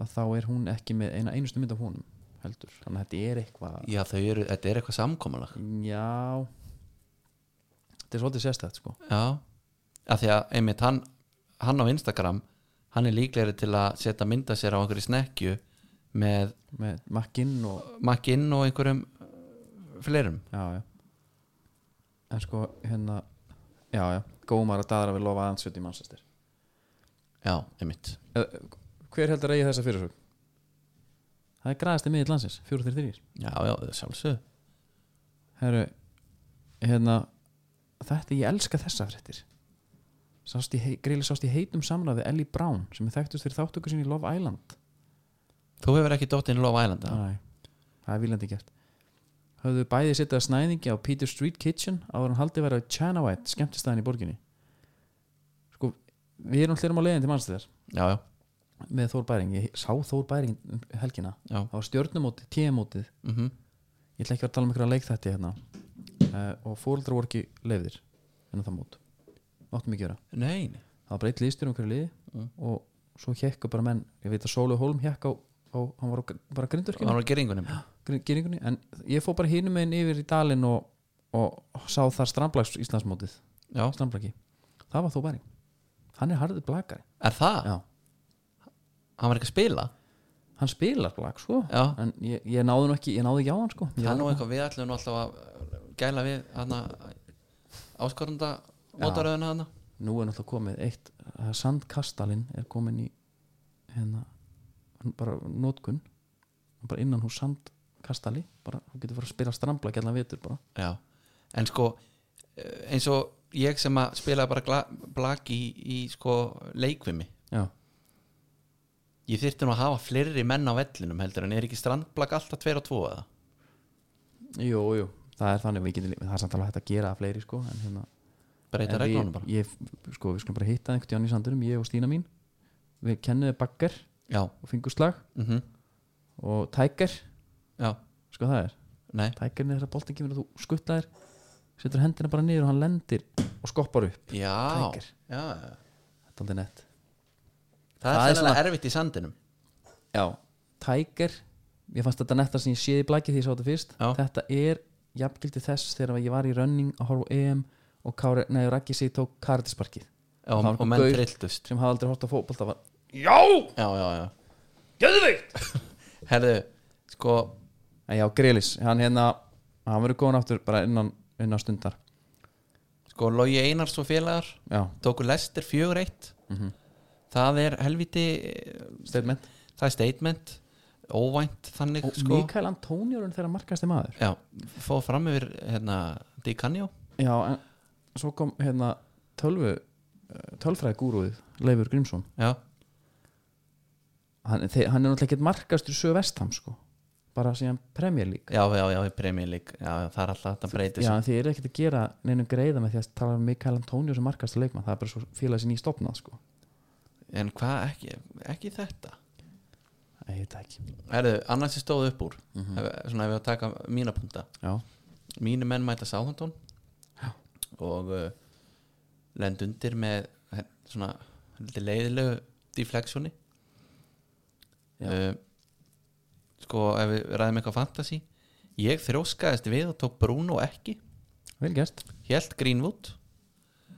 Speaker 1: að þá er hún ekki með eina einustu mynd af honum heldur, þannig að þetta er eitthvað
Speaker 2: Já, þau eru, þetta er eitthvað samkomulag
Speaker 1: Já Þetta er svolítið sérstætt, sko
Speaker 2: Já, af því að einmitt hann, hann á Instagram hann er líklegri til að setja mynda sér á einhverju snekkju með
Speaker 1: með makkinn og
Speaker 2: makinn og einhverjum uh, fleirum
Speaker 1: já, já. en sko hérna já, já, gómar að daðra við lofa aðansveit í mannsastir
Speaker 2: Já, einmitt
Speaker 1: hver heldur eigi þessa fyrirsög? það er græðasti miðið landsins, 433
Speaker 2: Já, já, sjálfsög
Speaker 1: herru, hérna þetta, ég elska þessa fréttir sást í, greiðlega sást í heitum samræði Ellie Brown sem er þekktust fyrir þáttöku sinni í Love Island
Speaker 2: Þú hefur ekki dottinn Love Island eða?
Speaker 1: Æ, það er viljandi gert höfðu bæði sittað snæðingi á Peter Street Kitchen áður en haldið verið á China White skemmtistæðin í borginni sko, við erum hlirum á leiðin til mannstæðar
Speaker 2: Já, já,
Speaker 1: með Þór Bæring, ég sá Þór Bæring um helgina,
Speaker 2: já
Speaker 1: það var stjörnumótið, tíumótið
Speaker 2: mm
Speaker 1: ég ætla ekki að vera að tala um einhverja leikþætti hérna uh, og fóreldrar voru ekki leiðir en það mót, máttum ekki gera
Speaker 2: Nei, nei.
Speaker 1: það var breytt lístur um hverju liði
Speaker 2: Mm.
Speaker 1: og svo hekku bara menn, ég veit að Sólu Hólm hekk á, á, hann var á, bara grindurkinu
Speaker 2: hann var geringunum
Speaker 1: geringunni en ég fór bara hinum meginn yfir í dalinn og, og sá þar strandblags Íslandsmótið,
Speaker 2: Já,
Speaker 1: strandblagi það var þó bæring, hann er harður blakari
Speaker 2: er það?
Speaker 1: já,
Speaker 2: Hann var ekki að spila?
Speaker 1: hann spilar blag sko
Speaker 2: Já.
Speaker 1: en ég, ég náði nú ekki, ég náði ekki á hann sko ég
Speaker 2: Ah. Það er nú
Speaker 1: var-
Speaker 2: eitthvað við ætlum nú alltaf að uh, gæla við hana áskorunda mótaröðuna hana
Speaker 1: nú er náttúrulega komið eitt eh, sandkastalinn er komin í hérna bara nótkun bara innan hún sandkastali bara, hún getur bara að spila strandblag hérna vetur bara
Speaker 2: Já, en sko eh, eins og ég sem að spila bara gla- blak í, í sko leikvimi
Speaker 1: já,
Speaker 2: ég þyrfti nú að hafa fleiri menn á vellinum heldur en er ekki strandblak alltaf tveir og tvo eða
Speaker 1: Jú, jú, það er þannig við getum, það er samt alveg hægt að gera að fleiri sko, en hérna
Speaker 2: breyta
Speaker 1: En við-
Speaker 2: reglunum bara
Speaker 1: ég, sko, Við skulum bara hitta einhvern tíðan í sandunum Ég og Stína mín Við kenniði baggar
Speaker 2: já,
Speaker 1: og fingurslag
Speaker 2: mm
Speaker 1: Og tækar,
Speaker 2: já,
Speaker 1: sko það er
Speaker 2: nei
Speaker 1: Tækarinn er þegar boltin kemur og þú skuttlaðir Setur hendina bara niður og hann lendir Og skoppar upp,
Speaker 2: já,
Speaker 1: Tiger.
Speaker 2: já, já.
Speaker 1: þetta er aldrei nett
Speaker 2: það
Speaker 1: Það er
Speaker 2: er sannlega erfitt í sandinum
Speaker 1: Já, tækar Ég fannst þetta netta sem ég séði í blæki því ég sá þetta fyrst
Speaker 2: Já.
Speaker 1: Þetta er jafngildi þess Þegar ég var í running að horfa á EM Og Kári, nei, Raggi sig tók karatisparkið
Speaker 2: já,
Speaker 1: Það var
Speaker 2: og
Speaker 1: einhver
Speaker 2: menn
Speaker 1: gaur
Speaker 2: trilltust
Speaker 1: Sem hafði aldrei hort á fótbolta var
Speaker 2: já, já, já, geðvikt herðu, sko
Speaker 1: En já, Grelis, hann hérna Hann verður góðan aftur bara innan, innan stundar
Speaker 2: sko, Logi Einars og félagar
Speaker 1: Já,
Speaker 2: tóku lestir fjögur eitt
Speaker 1: Mhm.
Speaker 2: það er eh, helviti
Speaker 1: statement
Speaker 2: það er statement óvænt þannig
Speaker 1: Og
Speaker 2: sko
Speaker 1: Mikael Antonio er hann þeirra markaðasti maður
Speaker 2: já, fóð fram yfir hérna, Di Canio
Speaker 1: Já, en svo kom hérna tölvu, eh, tölfræði gúruðið Leifur Grímsson
Speaker 2: já,
Speaker 1: Hann, þe- hann er náttúrulega ekkert markastur sög vestam sko Bara síðan Premier League
Speaker 2: já, já, já, í Premier League já, já, það er alltaf þetta breytir
Speaker 1: Já,
Speaker 2: sig.
Speaker 1: en þið eru ekkert að gera neinum greiða með því að tala um Mikael Antonio sem markastur leikmann Það er bara svo félagið sinni í stopnað sko
Speaker 2: en hvað, ekki, ekki þetta
Speaker 1: Æ, ég veit það ekki
Speaker 2: Herðu, annars sem stóð upp úr ef, svona ef ég á að taka mína punta
Speaker 1: Mhm. Já,
Speaker 2: mínu menn mæta Sáhantón og uh, lend undir með eh, svona heldur leiðilegu deflectioni uh, sko ef við ræðum eitthvað fantasy ég þróskaðist við og tók Bruno ekki
Speaker 1: vel gert
Speaker 2: Hjælt Greenwood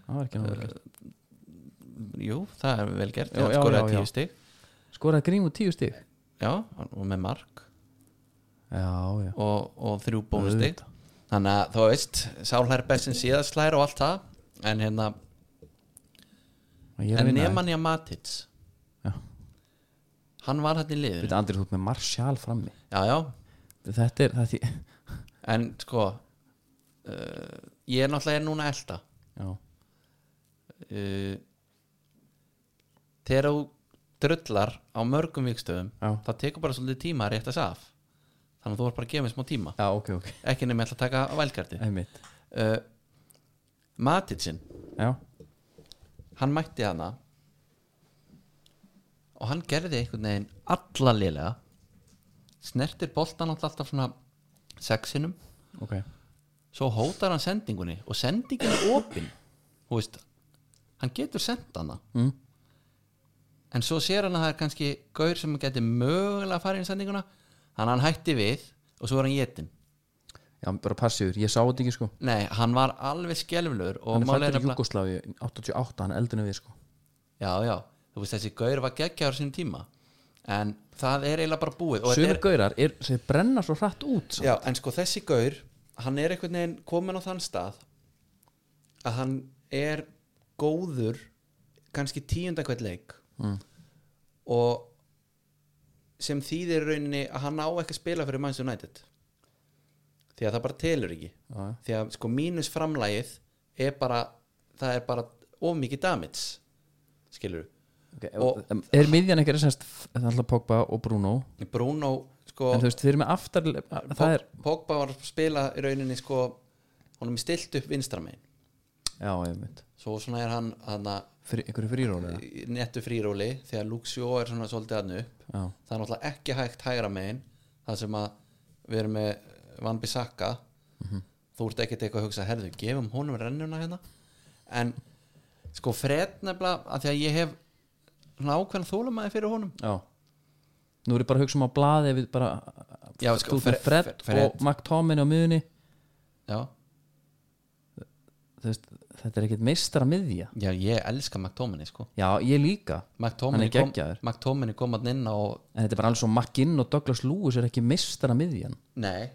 Speaker 1: Það var ekki náttúrulega vel gert
Speaker 2: jú, það er vel gert,
Speaker 1: Já,
Speaker 2: hann
Speaker 1: já,
Speaker 2: skoraði
Speaker 1: já, já.
Speaker 2: tíu stig
Speaker 1: Skoraði Grímur tíu stig
Speaker 2: já, hann- og með mark
Speaker 1: Já, já
Speaker 2: og, og þrjú bónustig þannig að þú veist, sálhær best sem síðast slær og allt það en hérna,
Speaker 1: Og ég er að
Speaker 2: en
Speaker 1: vinna þig.
Speaker 2: Nemanja Matits
Speaker 1: Já.
Speaker 2: hann var hann í liður
Speaker 1: Þetta Andri, þú ert með Marshall frammi
Speaker 2: já, já,
Speaker 1: Þetta er, þetta er
Speaker 2: en sko uh, ég er náttúrulega núna að elta
Speaker 1: Já,
Speaker 2: uh, þegar þú drullar á mörgum vikstöðum
Speaker 1: Já.
Speaker 2: það tekur bara svolítið tíma að réttast af þannig að þú er bara að gefa mér smá tíma
Speaker 1: já ok, ok
Speaker 2: ekki nefnir að taka vælgardi
Speaker 1: Einmitt.
Speaker 2: uh, Matitsin
Speaker 1: Já,
Speaker 2: hann mætti hana og hann gerði einhvern veginn alla liðlega snertir boltan náttúrulega alltaf svona sexinum
Speaker 1: ok
Speaker 2: svo hótar hann sendingunni og sendingin er opin þú veist, hann getur sendt hana mm. en svo sér hann að það er kannski gaur sem getur mögulega að fara inn í sendinguna þannig að hann hætti við og svo er hann getinn
Speaker 1: Já, bara passiður, ég sá þetta ekki sko
Speaker 2: nei, hann var alveg skelflur og
Speaker 1: Hann er
Speaker 2: málið
Speaker 1: fættur í
Speaker 2: nefnilega-
Speaker 1: Júkoslavi 88, hann er eldinu við sko
Speaker 2: já, já, þú veist þessi gaur var geggjaður á sínum tíma en það er eiginlega bara búið og þetta
Speaker 1: Sumir gaurar, er, þeir brenna svo hratt út
Speaker 2: Já, en sko þessi gaur hann er einhvern veginn komin á þann stað að hann er góður kannski tíunda hvert leik mm. og sem þýðir í rauninni að hann á ekki að spila fyrir Manchester United því að það bara telur ekki
Speaker 1: já.
Speaker 2: því að sko mínus framlægið er bara, það er bara of mikið damage skilur
Speaker 1: okay, og,
Speaker 2: og-
Speaker 1: um, Er miðjan ekkert semst Þannig að Pogba og Bruno
Speaker 2: Bruno sko
Speaker 1: En þú veist, þeir eru með aftar Það er,
Speaker 2: Pog- Pogba var að spila í rauninni sko honum er stilt upp vinstramein
Speaker 1: já, ég mynd
Speaker 2: svo svona er hann hana,
Speaker 1: Fyrir, einhverju frírónu eða?
Speaker 2: nettu fríróli þegar Luxjó er svona svolítið hann upp
Speaker 1: Já,
Speaker 2: það er náttúrulega ekki hægt hægra megin það sem að við erum með Van Bissaka
Speaker 1: Mhm.
Speaker 2: þú ert ekkert eitthvað að hugsa herðu, gefum honum rennuna hérna en sko Fred nefnilega að því að ég hef svona ákveðan þólumæði fyrir honum
Speaker 1: já Nú erum við bara að hugsa um á blaði ef við bara
Speaker 2: Já,
Speaker 1: Þú
Speaker 2: sko,
Speaker 1: ert með
Speaker 2: Fre-
Speaker 1: Fred,
Speaker 2: Fre- Fred.
Speaker 1: og Mark Tomin á miðunni
Speaker 2: já,
Speaker 1: Þú veist, Þetta er ekkert meistara miðja
Speaker 2: já ég elska McTominay sko
Speaker 1: Já, ég líka Hann
Speaker 2: McTominay
Speaker 1: er
Speaker 2: kom,
Speaker 1: geggjaður.
Speaker 2: McTominay kom hann inn og
Speaker 1: En þetta er bara alls og Mackinn og Douglas Lewis er ekki mistara miðjan
Speaker 2: nei,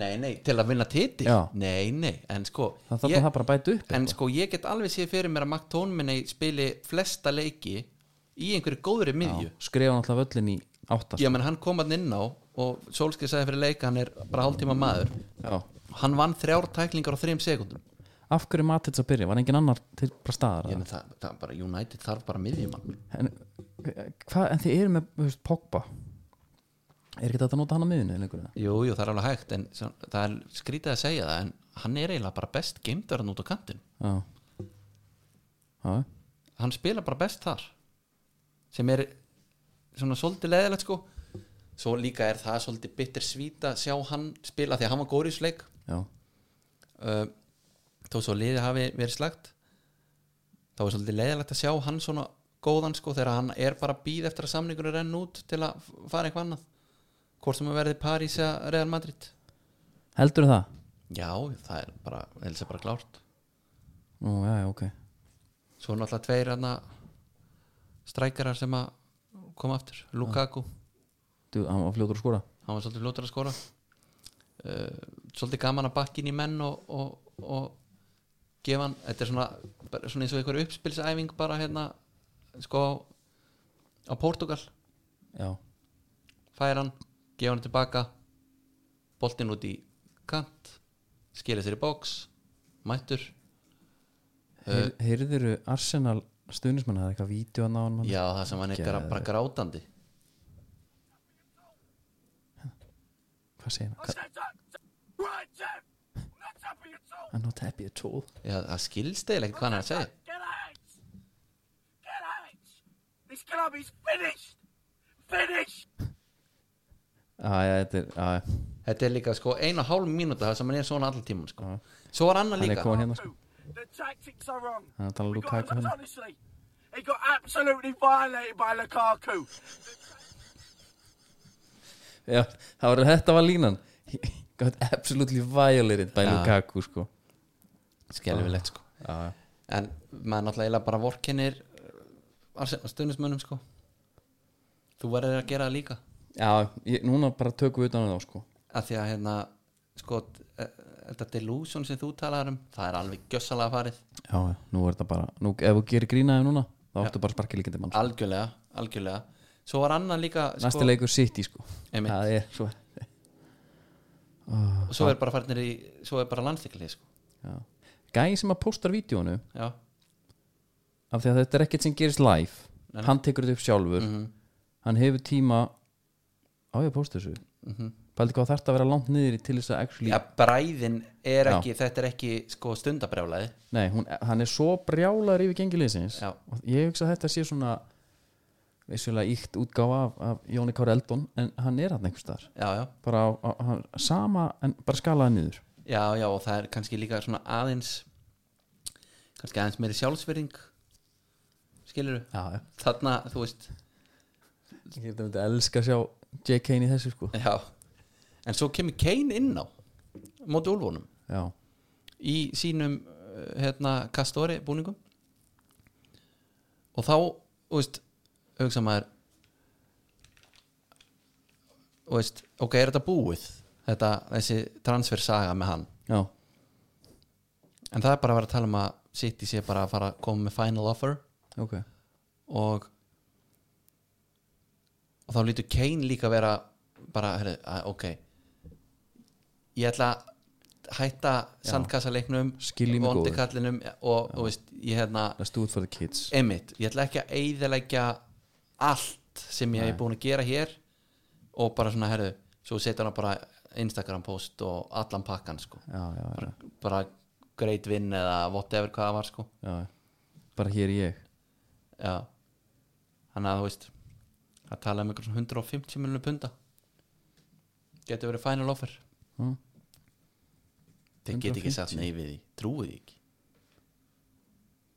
Speaker 2: nei, nei, til að vinna titil
Speaker 1: Já.
Speaker 2: nei, nei, en sko
Speaker 1: Það þarf
Speaker 2: ég-
Speaker 1: það bara að bæta upp
Speaker 2: en sko ég get alveg séð fyrir mér að Mark Tónminni spili flesta leiki í einhverju góðri miðju
Speaker 1: Skrifa hann alltaf öllin í áttast
Speaker 2: ég menn hann kom hann inn á og Solskjaer sagði fyrir leika hann er bara hálftíma maður
Speaker 1: Já.
Speaker 2: hann vann þrjár tæklingar á þrejum sekundum
Speaker 1: Af hverju matits að byrja? Var engin annar til bara staðar?
Speaker 2: ég menn það, það bara United þarf bara miðjumann
Speaker 1: En, eh, hvað, en þið eru með, þú veist, Pogba er ekki þetta að nota hann á miðunni lengur eða?
Speaker 2: Jú, jú, það er alveg hægt en svo- það er skrítið að segja það en hann er eiginlega bara best geimdur hann út á kantinn
Speaker 1: já já,
Speaker 2: hann spila bara best þar sem er svona svolítið leðilegt sko svo líka er það svolítið bitter svíta sjá hann spila því að hann var góður í sleik
Speaker 1: já,
Speaker 2: uh, þó svo liðið hafi verið slagt þá er svolítið leðilegt að sjá hann svona góðan sko þegar hann er bara býð eftir að samningur er enn út til að f- fara eitthvað annað hvort sem að verði París eða Real Madrid
Speaker 1: heldur það?
Speaker 2: já, það er bara, helst er bara klárt
Speaker 1: Nú, já, já, ok
Speaker 2: svo er náttúrulega tveir hana, strækarar sem að koma aftur, Lukaku
Speaker 1: Þú, hann var fljótur að skora
Speaker 2: hann var svolítið fljótur að skora uh, svolítið gaman að bakkin í menn og, og, og gefa hann, þetta er svona, bara svona eins og einhver uppspilsæfing bara hérna sko á Portugal,
Speaker 1: já,
Speaker 2: færa hann gefa hann tilbaka boltinn út í kant skilja sér í bóks, mættur
Speaker 1: Heyr, heyrðiru Arsenal stuðnismann það er eitthvað vídeo að ná hann
Speaker 2: já það sem hann er gra- bara grátandi
Speaker 1: hvað segir hann? Hva- I'm not happy at all
Speaker 2: já, það skilst eða ekkert hvað hann er að segja
Speaker 5: Get out! Get out! This club is finished! Finished!
Speaker 1: ah, já, þetta er, ah, já,
Speaker 2: þetta er líka sko einu og hálf mínúta það sem hann er svona allan tíman sko. svo var annar
Speaker 1: hann er
Speaker 2: líka
Speaker 1: komin hérna sko.
Speaker 5: The tactics are wrong.
Speaker 1: Hann talar
Speaker 5: We got-
Speaker 1: Uh, Lukaku hérna.
Speaker 5: Honestly, he got absolutely violated by Lukaku.
Speaker 1: já, það var, þetta var línan He got absolutely violated by
Speaker 2: Já.
Speaker 1: Lukaku sko.
Speaker 2: skelfilegt sko
Speaker 1: já, já.
Speaker 2: en maður náttúrulega eiginlega bara vorkennir stuðnismönnum sko þú verður að gera það líka
Speaker 1: já, ég, núna bara tökum við utan á þá sko.
Speaker 2: að því að hérna sko eh, þetta delusion sem þú talar um það er alveg gjössalega farið
Speaker 1: já, já, nú er þetta bara nú, ef þú gerir grínaði núna þá áttu bara sparkið líkandi mann sko.
Speaker 2: algjörlega, algjörlega svo var annan líka sko,
Speaker 1: næsti leikur City sko.
Speaker 2: Einmitt.
Speaker 1: það er svo
Speaker 2: og svo er bara farnir í svo er bara landsleiklið sko
Speaker 1: já. gæði sem að póstar vídjónu
Speaker 2: já,
Speaker 1: af því að þetta er ekkert sem gerist live hann tekur þetta upp sjálfur
Speaker 2: Mhm.
Speaker 1: hann hefur tíma á ég að posta þessu mm -hmm. pældi hvað þarf þetta að vera langt niður í til þess að actually,
Speaker 2: Mhm. já bræðin er
Speaker 1: Já.
Speaker 2: ekki þetta er ekki sko stundabrjálaði
Speaker 1: nei, hún, hann er svo brjálaður yfir gengiliðsins
Speaker 2: Já.
Speaker 1: og ég hugsa að þetta sé svona vissulega íkt útgáfa af, af Jóni Kári Eldon en hann er hann einhvers staðar
Speaker 2: já, já,
Speaker 1: bara á, á, hann, sama en bara skalaði niður
Speaker 2: já, já og það er kannski líka svona aðeins kannski aðeins meiri sjálfsverðing skilur
Speaker 1: já, já.
Speaker 2: þarna, þú veist
Speaker 1: ég held að myndi elska að sjá J. Kane í þessu sko
Speaker 2: já. en svo kemur Kane inn á móti úlfónum
Speaker 1: já,
Speaker 2: í sínum uh, hérna, kastóri búningum og þá þú veist, hugsa maður þú veist, ok, er þetta búið þetta, þessi transfer saga með hann
Speaker 1: já,
Speaker 2: en það er bara að vera að tala um að City sé bara að fara að koma með final offer
Speaker 1: ok
Speaker 2: og og þá lítur Kane líka vera bara, herri, að, ok ég ætla að hætta sandkassaleiknum
Speaker 1: Skiljið mig góður.
Speaker 2: vondikallinum og, og veist, ég hérna
Speaker 1: let's do it for the kids
Speaker 2: einmitt, ég ætla ekki að eyðilegja allt sem ég hef búin að gera hér og bara svona, herru svo setja hann bara Instagram post og allan pakkan sko
Speaker 1: já, já, já,
Speaker 2: bara great win eða whatever hvað það var sko
Speaker 1: já. bara hér er ég
Speaker 2: Já Þannig að þú veist að tala um einhverjum 150 miljonum punda Getur verið final offer
Speaker 1: Mm.
Speaker 2: Þeir get ekki sagt nei við því Trúið því ekki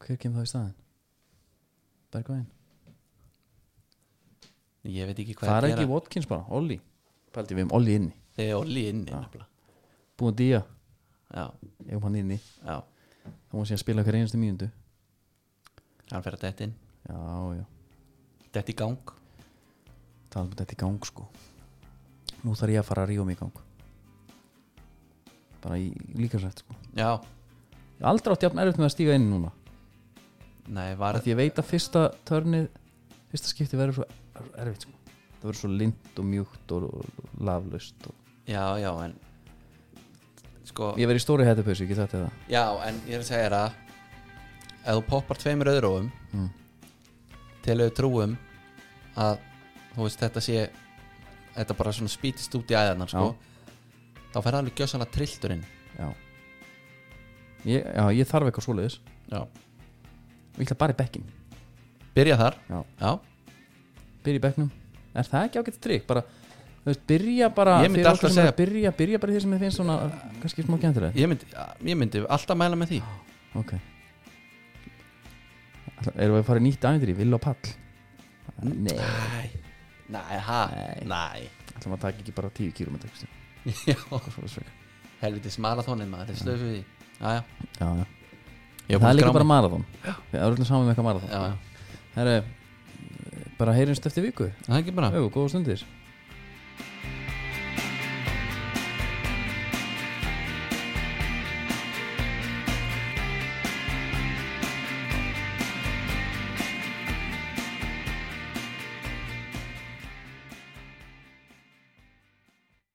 Speaker 1: Hver kemur þá í staðin? Bergvæn
Speaker 2: Ég veit ekki hvað
Speaker 1: Það er
Speaker 2: að
Speaker 1: ekki
Speaker 2: gera
Speaker 1: Watkins bara, Olli Paldi við um Olli inni,
Speaker 2: Þegar Olli inni nefnilega
Speaker 1: búin dýja
Speaker 2: Já,
Speaker 1: Ég kom hann inni,
Speaker 2: já
Speaker 1: þá var sér að spila hver einstu mínundu
Speaker 2: Hann fer að detti inn
Speaker 1: Já, já,
Speaker 2: Detti í gang
Speaker 1: það er þetta í gang sko Nú þarf ég að fara að rífa mig í gang Bara í líkasrætt sko
Speaker 2: Já,
Speaker 1: Ég hef aldrei átt jafn erfitt með að stíga inn núna
Speaker 2: nei, var
Speaker 1: Af Því ég veit að fyrsta törnið Fyrsta skipti verður svo erfitt sko Það verður svo lind og mjúkt og, og laflaust og...
Speaker 2: Já, já, en Sko,
Speaker 1: Ég verður í stóri hættupausu, ég get þetta það
Speaker 2: já, en ég er að segja þér að Ef þú poppar tveimur öðróum mm. Til þau trúum að þú veist þetta sé þetta bara svona spýtist út í æðarnar sko. þá fer alveg gjössanlega trillturinn
Speaker 1: já ég, já, ég þarf eitthvað svoleiðis
Speaker 2: já.
Speaker 1: ég ætla bara í bekkin,
Speaker 2: byrja þar
Speaker 1: Já.
Speaker 2: Já.
Speaker 1: byrja í bekknum er það ekki ágætt trygg, bara þú veist, byrja bara
Speaker 2: Ég myndi
Speaker 1: fyrir
Speaker 2: alltaf
Speaker 1: okkur sem er
Speaker 2: segja-
Speaker 1: að byrja, byrja bara í því sem þið finnst svona kannski smá gentileg
Speaker 2: Ég, myndi, ég myndi alltaf mæla með því
Speaker 1: ok Ætla- erum við að fara í nýtt ævintýri, vill og pall nei,
Speaker 2: Næ, næ, ha, næ
Speaker 1: ætlum að taka ekki bara 10 km já,
Speaker 2: Já, helvitis marathónin maður, þeir slöfu því Jæja,
Speaker 1: já. það
Speaker 2: Ég er búinn að
Speaker 1: er líka
Speaker 2: skrá
Speaker 1: bara
Speaker 2: mig.
Speaker 1: marathon við erum öllum saman með eitthvað marathon
Speaker 2: já, já
Speaker 1: Herru, bara heyrjumst eftir viku
Speaker 2: Það er ekki bara
Speaker 1: Jú, góða stundir